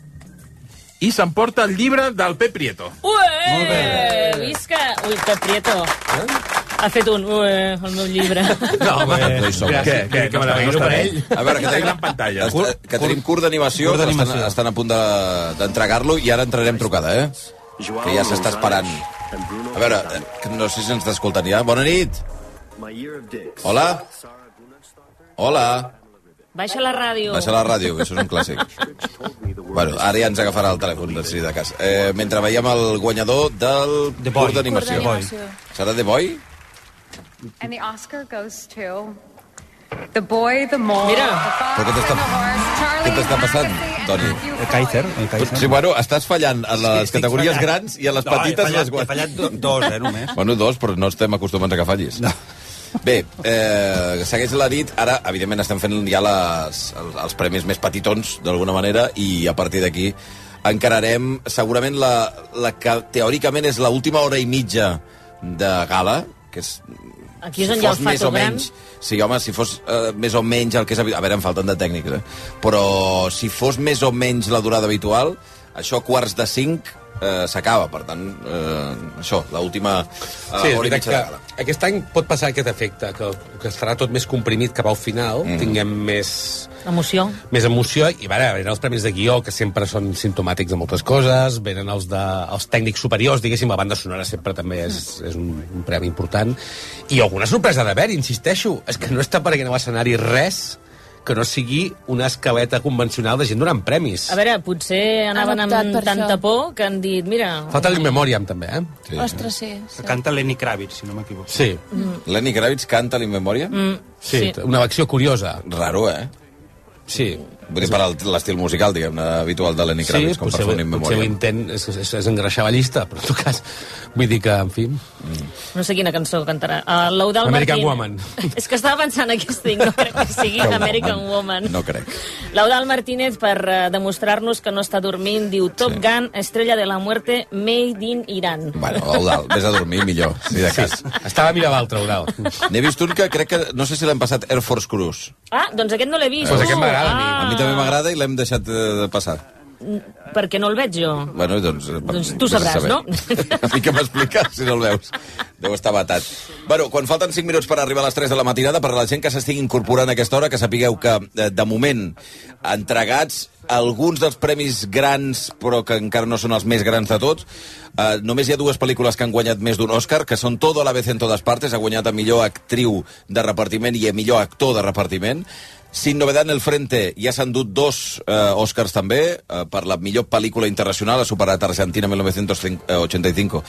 i s'emporta el llibre del Pep Prieto.
Ué! Molt bé. Visca! Ui, que Prieto.
Eh?
Ha fet un, ué, el meu
(laughs)
llibre.
No, home, no hi som.
Què, què,
que
no està
m'alegro per
bé, no
ell.
està bé.
A veure, que tenim,
gran pantalla.
Est- que tenim curt d'animació,
curt
però estan,
d'animació.
estan a punt de- d'entregar-lo i ara entrarem trucada, eh? Que ja s'està esperant. A veure, eh, que no sé si ens t'escolten ja. Bona nit.
My year of dicks.
Hola. Hola.
Baixa la ràdio.
Baixa la ràdio, que això és un clàssic.
Told me
Bueno, ara ja ens agafarà el telèfon, doncs, si de cas. Eh, mentre veiem el guanyador del
The Boy.
curs d'animació.
Curs d'animació.
Serà The Boy?
And the Oscar goes to the boy, the mole, the fox,
Però què t'està què t'està passant, Toni?
El Kaiser. El Kaiser.
Sí, bueno, estàs fallant a les
estic
categories
fallant.
grans i a les
No, he
petites
fallat-
les guanyes.
he fallat do- dos, eh, només.
Bueno, dos, però no estem acostumats a que fallis. No. Bé, eh, segueix la nit. Ara, evidentment, estem fent ja les, els, els premis més petitons, d'alguna manera, i a partir d'aquí encararem segurament la, la que teòricament és l'última hora i mitja de gala, que és
Aquí és on hi ha el
més o
fato gran.
menys, sí, home, si fos eh, més o menys el que és... habi- A veure, em falten de tècnics, eh? Però si fos més o menys la durada habitual, això a quarts de cinc eh, s'acaba. Per tant, eh, això, l'última eh,
Sí, és
hora i
veritat
mitja de gala.
que aquest any pot passar aquest efecte, que, que estarà tot més comprimit cap al final, mm. tinguem més,
Emoció.
més emoció, i a veure, venen els premis de guió, que sempre són simptomàtics de moltes coses, venen els, de, els tècnics superiors, diguéssim, la banda sonora sempre també és, és un, un premi important, i alguna sorpresa d'haver-hi, insisteixo, és que no està apareguent a l'escenari res que no sigui una escaleta convencional de gent donant premis.
A veure, potser anaven amb
optat per
tanta
això.
por que han dit, mira...
Falta el memòriam, també, eh?
Sí.
Ostres, sí. sí.
Canta Lenny Kravitz, si no m'equivoco.
Sí.
Mm.
Lenny Kravitz canta l'in memòria?
Mm,
Sí, sí. una acció curiosa.
Raro, eh?
Sí.
Vull dir, per al- l'estil musical, diguem-ne, habitual de Lenny Kravitz, com per fer un in
potser
memòria.
l'intent és, és, és engreixar la llista, però en tot cas, vull dir que, en fi...
No sé quina cançó cantarà. Uh, L'Eudal
American
Martín.
Woman.
(laughs) És que estava pensant aquesta i no crec que sigui American Woman.
No crec.
L'Eudal Martínez, per eh, demostrar-nos que no està dormint, diu Top sí. Gun, estrella de la muerte, made in Iran.
Bueno, Eudal, vés a dormir millor, si de cas. Sí.
Estava mirant l'altre, Eudal.
N'he vist un que crec que... No sé si l'hem passat Air Force Cruise.
Ah, doncs aquest no l'he vist.
Eh,
tu. ah,
A mi també m'agrada i l'hem deixat eh, de passar.
m'agrada. Perquè no el veig jo.
Bueno, doncs... eh,
Doncs
per-
tu
vés a
sabràs,
saber. (laughs) A
no?
mi que m'expliques, si no el veus. Deu estar batat. Bueno, quan falten 5 minuts per arribar a les 3 de la matinada, per a la gent que s'estigui incorporant a aquesta hora, que sapigueu que, eh, de moment, entregats alguns dels premis grans, però que encara no són els més grans de tots, eh, només hi ha dues pel·lícules que han guanyat més d'un Òscar, que són Todo a la vez en todas partes, ha guanyat a millor actriu de repartiment i a millor actor de repartiment. Sin novedad en el frente, ja s'han dut dos eh, Oscars també, eh, per la millor pel·lícula internacional, ha superat Argentina eh, 1985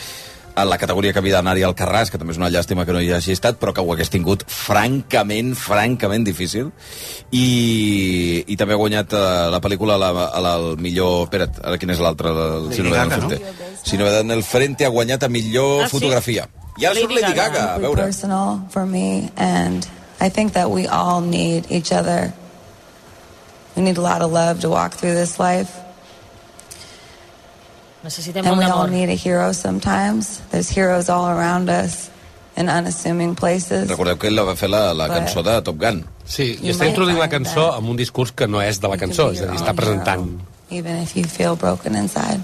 en la categoria que havia d'anar-hi al Carràs, que també és una llàstima que no hi hagi estat, però que ho hagués tingut francament, francament difícil. I, i també ha guanyat eh, la pel·lícula a la, a la, el millor... Espera't, ara quin és l'altre? el-
Lady
Sin novedad en
Gaga,
el
no?
frente. Sin novedad en el frente ha guanyat a millor
Ah, sí?
fotografia. I ara surt Lady Gaga, a veure.
personal for me, and I think that we all need each other. We need a lot of love to walk through this life,
Necessitem
and
molt
we all
d'amor.
need a hero sometimes. There's heroes all around us in unassuming places.
Recordeu que ell la va fer la, la cançó de Top Gun.
Sí, i està introduint la cançó amb un discurs que no és de la cançó, és a dir, està presentant...
Even if you feel broken inside.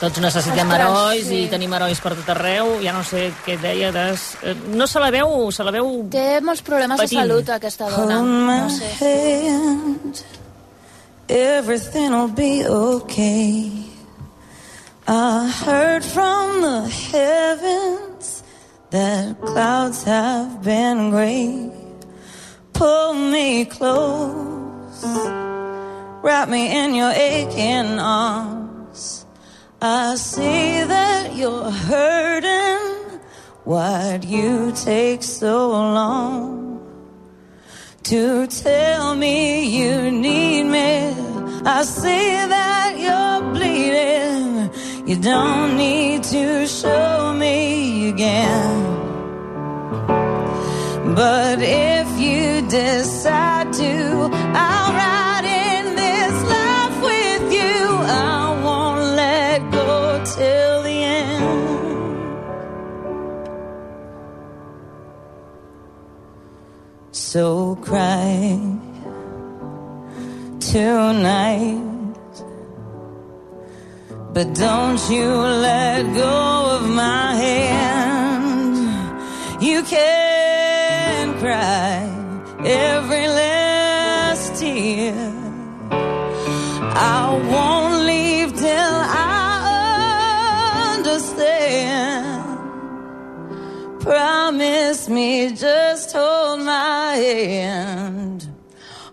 Tots necessitem
Ostres,
herois
sí.
i tenim herois per tot arreu. Ja no sé què deia. Des... eh, No se la veu... Se la veu...
Té molts problemes
Patint.
de salut, aquesta dona.
Hold
No
my
sé.
hand. Everything will be okay. I heard from the heavens that clouds have been gray. Pull me close, wrap me in your aching arms. I see that you're hurting. Why'd you take so long? to tell me you need me. I see that you're bleeding. You don't need to show me again. But if you decide to, I'll ride in this life with you. I won't let go till the end. So cry tonight, but don't you let go of my hand. You can cry every last tear. I won't leave till I understand. Promise me just hold my hand.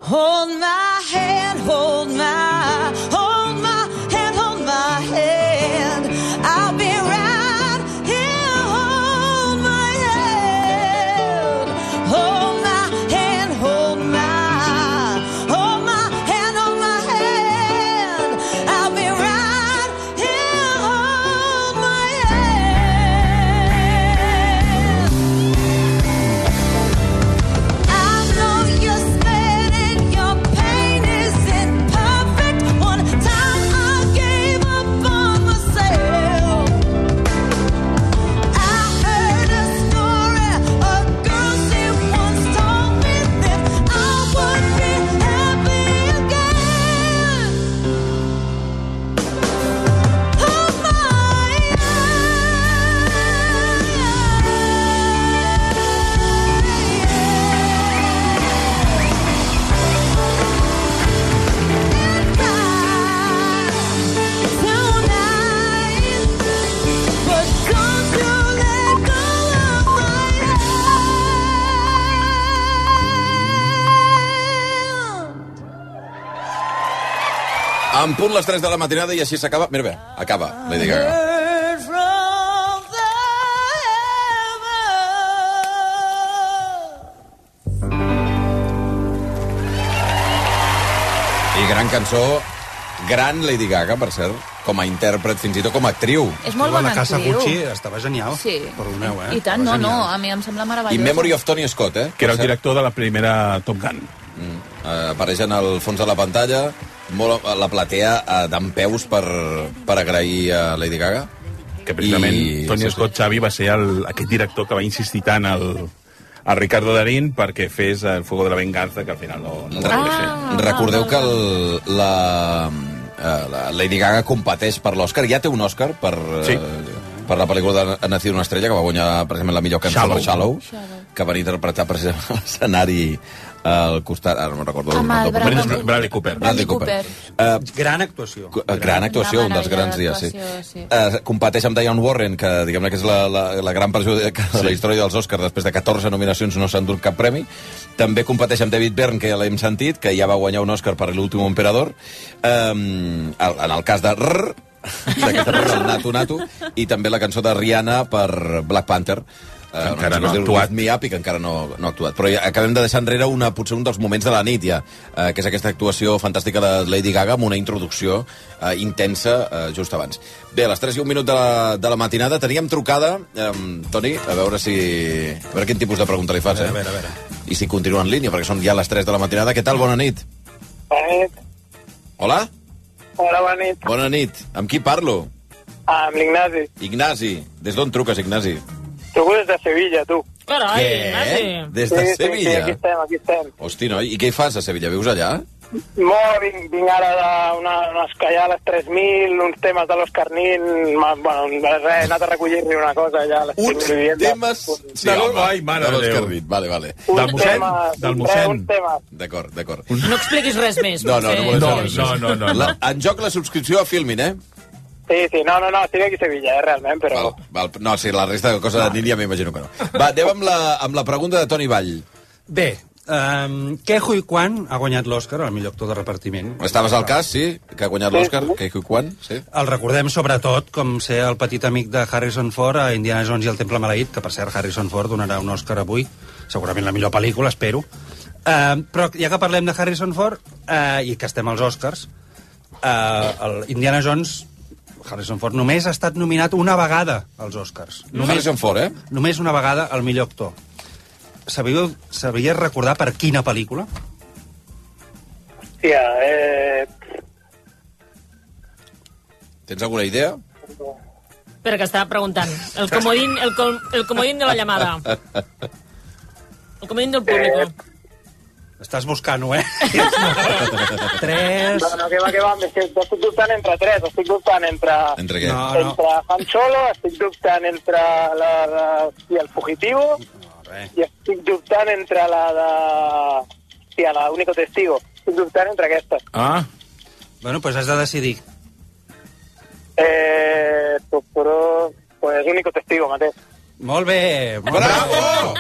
Hold my hand,
En punt les 3 de la matinada i així s'acaba... Mira bé, acaba, Lady Gaga.
Heard from the
I gran cançó, gran Lady Gaga, per cert, com a intèrpret, fins i tot com a actriu.
És molt bona
La casa
actriu.
Gucci estava genial.
Sí.
Perdoneu, eh?
I tant, no, no, a mi em sembla meravellós.
I Memory of Tony Scott, eh?
Que era el director de la primera Top Gun.
Mm. Eh, apareix en el fons de la pantalla, molt, la platea eh, d'empeus per, per agrair a Lady Gaga.
Que precisament I... Tony
sí, sí.
Scott Xavi va ser el, aquest director que va insistir tant al, al Ricardo Darín perquè fes el Fuego de la Venganza, que al final no, no va poder
Ah, Recordeu que el, la, eh, la Lady Gaga competeix per l'Oscar. Ja té un Oscar per, sí. per la pel·lícula de Nacido una estrella, que va guanyar precisament la millor cançó, Shallow, Shallow, que van interpretar precisament (laughs) a l'escenari eh, al costat, ara no me'n recordo
Amb
nom del
el Bradley-
compositor.
Bradley Cooper.
Bradley Cooper. Eh,
Gran actuació.
eh, gran actuació, un dels grans dies, sí. Eh, competeix amb Diane Warren, que diguem-ne que és la, la, la gran perjudicada de la història dels Oscars, després de 14 nominacions no s'ha endut cap premi. També competeix amb David Byrne, que ja l'hem sentit, que ja va guanyar un Oscar per l'últim emperador. Eh, en el cas de
(laughs)
Rrr, d'aquest Rrr, el Nato Nato, i també la cançó de Rihanna per Black Panther. Eh, una
Encara
cançó
no ha
que es diu
actuat.
Lift Me Up i que encara no, no ha actuat. Però ja acabem de deixar enrere una, potser un dels moments de la nit, ja, eh, que és aquesta actuació fantàstica de Lady Gaga amb una introducció eh, intensa eh, just abans. Bé, a les 3 i un minut de la, de la matinada teníem trucada, eh, Toni, a veure si... A veure quin tipus de pregunta li fas, eh? A veure, a veure. I si continua en línia, perquè són ja les 3 de la matinada. Què tal? Bona nit.
Bona nit.
Hola?
Hola, bona nit.
Bona nit. Amb qui parlo?
Amb l'Ignasi.
Ignasi. Des d'on truques, Ignasi?
Truco des de Sevilla, tu.
Carai,
Què? Ignasi. Des de
sí, Sí, sí,
Sevilla?
aquí estem, aquí estem.
Hosti, noi, i què hi fas a Sevilla? Vius allà?
Molt, vinc, vinc ara d'una escallà a les 3.000, uns temes de l'Òscar Nin, ma- bueno, res, he anat a recollir-li una cosa allà. Uns temes...
Sí, home,
ai, mare
de
de Déu.
l'Òscar Dit. Vale, vale.
Del mossèn? Del mossèn?
Uns temes.
D'acord, d'acord.
No expliquis res més.
No, no, no, volem
No,
saber res
no,
més.
no, no, no.
La, en joc la subscripció a Filmin, eh?
Sí, sí, no, no, no, estic aquí a Sevilla, eh, realment, però...
Val, val, no, sí, la resta de coses de Nínia m'imagino que no. Va, anem amb la, amb la pregunta de Toni Vall.
Bé, um, Kejo i Quan ha guanyat l'Oscar al millor actor de repartiment.
Estaves al cas, sí? Que ha guanyat l'Òscar? Que i quan? Sí?
El recordem sobretot com ser el petit amic de Harrison Ford a Indiana Jones i el Temple Maleït, que per cert Harrison Ford donarà un Oscar avui, segurament la millor pel·lícula, espero. Uh, però ja que parlem de Harrison Ford uh, i que estem als Oscars, uh, el Indiana Jones, Harrison Ford, només ha estat nominat una vegada als Oscars. Només,
Harrison Ford, eh?
Només una vegada al millor actor. Sabíeu, sabies recordar per quina pel·lícula?
Hòstia, eh...
Tens alguna idea?
Espera, que estava preguntant. El comodín, el, com, el comodín de la llamada. El comodín del
Eh,
públic.
Estàs buscant-ho,
(laughs)
eh? Tres...
No, no, que va, que va, estic, estic dubtant entre tres, estic dubtant entre...
Entre què?
No, no.
Entre Han Solo, estic dubtant entre la, la, i el Fugitivo, i estic dubtant entre la de... Hòstia, la Único Testigo. Estic dubtant entre aquestes.
Ah.
Bueno, doncs pues has de decidir.
Eh, tu, però... Pues Único Testigo, Mateu.
Molt bé! Molt
Bravo!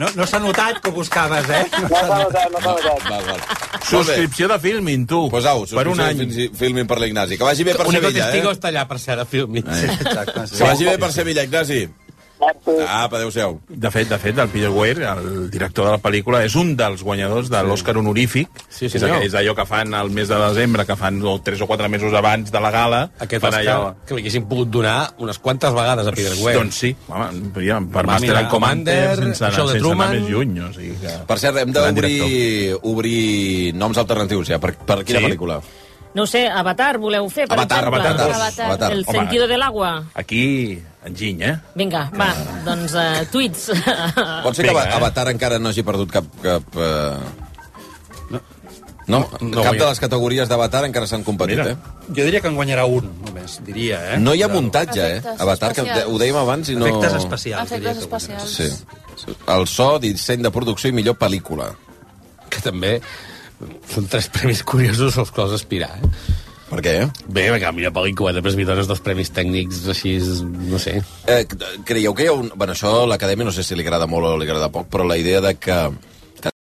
No, no s'ha notat que ho buscaves, eh?
No s'ha notat, no s'ha notat.
Val, val.
Subscripció de Filmin, tu.
Pues au,
per un any.
Filmin per l'Ignasi. Que vagi bé per
Único
Sevilla,
testigo
eh?
està allà, per cert, a Filmin.
Sí,
exacte,
Que vagi bé per Sevilla, Ignasi. Apa, adéu-siau.
De fet, de fet, el Peter Weir, el director de la pel·lícula, és un dels guanyadors de l'Oscar honorífic.
Sí,
és,
senyor.
aqu- és allò que fan al mes de desembre, que fan o, tres o quatre mesos abans de la gala.
Aquest
fan
Oscar
allò-
que l'haguessin pogut donar unes quantes vegades a Peter Weir.
Doncs sí, home, ja,
Va
per Master
mirar
and Commander,
Commander,
sense, anar,
Show de
sense anar
Truman.
més lluny. O sigui que...
Per cert, hem
Gran
d'obrir obrir noms alternatius, ja. Per, per quina
Sí.
pel·lícula?
No ho sé, Avatar, voleu fer, per
Avatar,
exemple?
Avatar dos, Avatar.
El
Home.
sentido del agua.
Aquí, enginy, eh?
Vinga, va, doncs uh, tuits.
Pot ser que Ava- Avatar encara no hagi perdut cap... cap eh... No, no, cap
guanya.
de les categories d'Avatar encara s'han competit,
Mira.
eh?
Jo diria que en guanyarà un, només, diria, eh?
No hi ha muntatge, eh?
Efectes
Avatar, que
especials.
ho dèiem abans i no...
Efectes especials, diria
Efectes
que
especials.
Sí. El so, disseny de producció i millor pel·lícula.
Que també són tres premis curiosos als quals aspirar, eh?
Per què?
Bé, perquè la millor pel·lícula, després m'hi dones dos premis tècnics així, no sé.
Eh, creieu que hi ha un... Bueno, això a l'acadèmia no sé si li agrada molt o li agrada poc, però la idea de que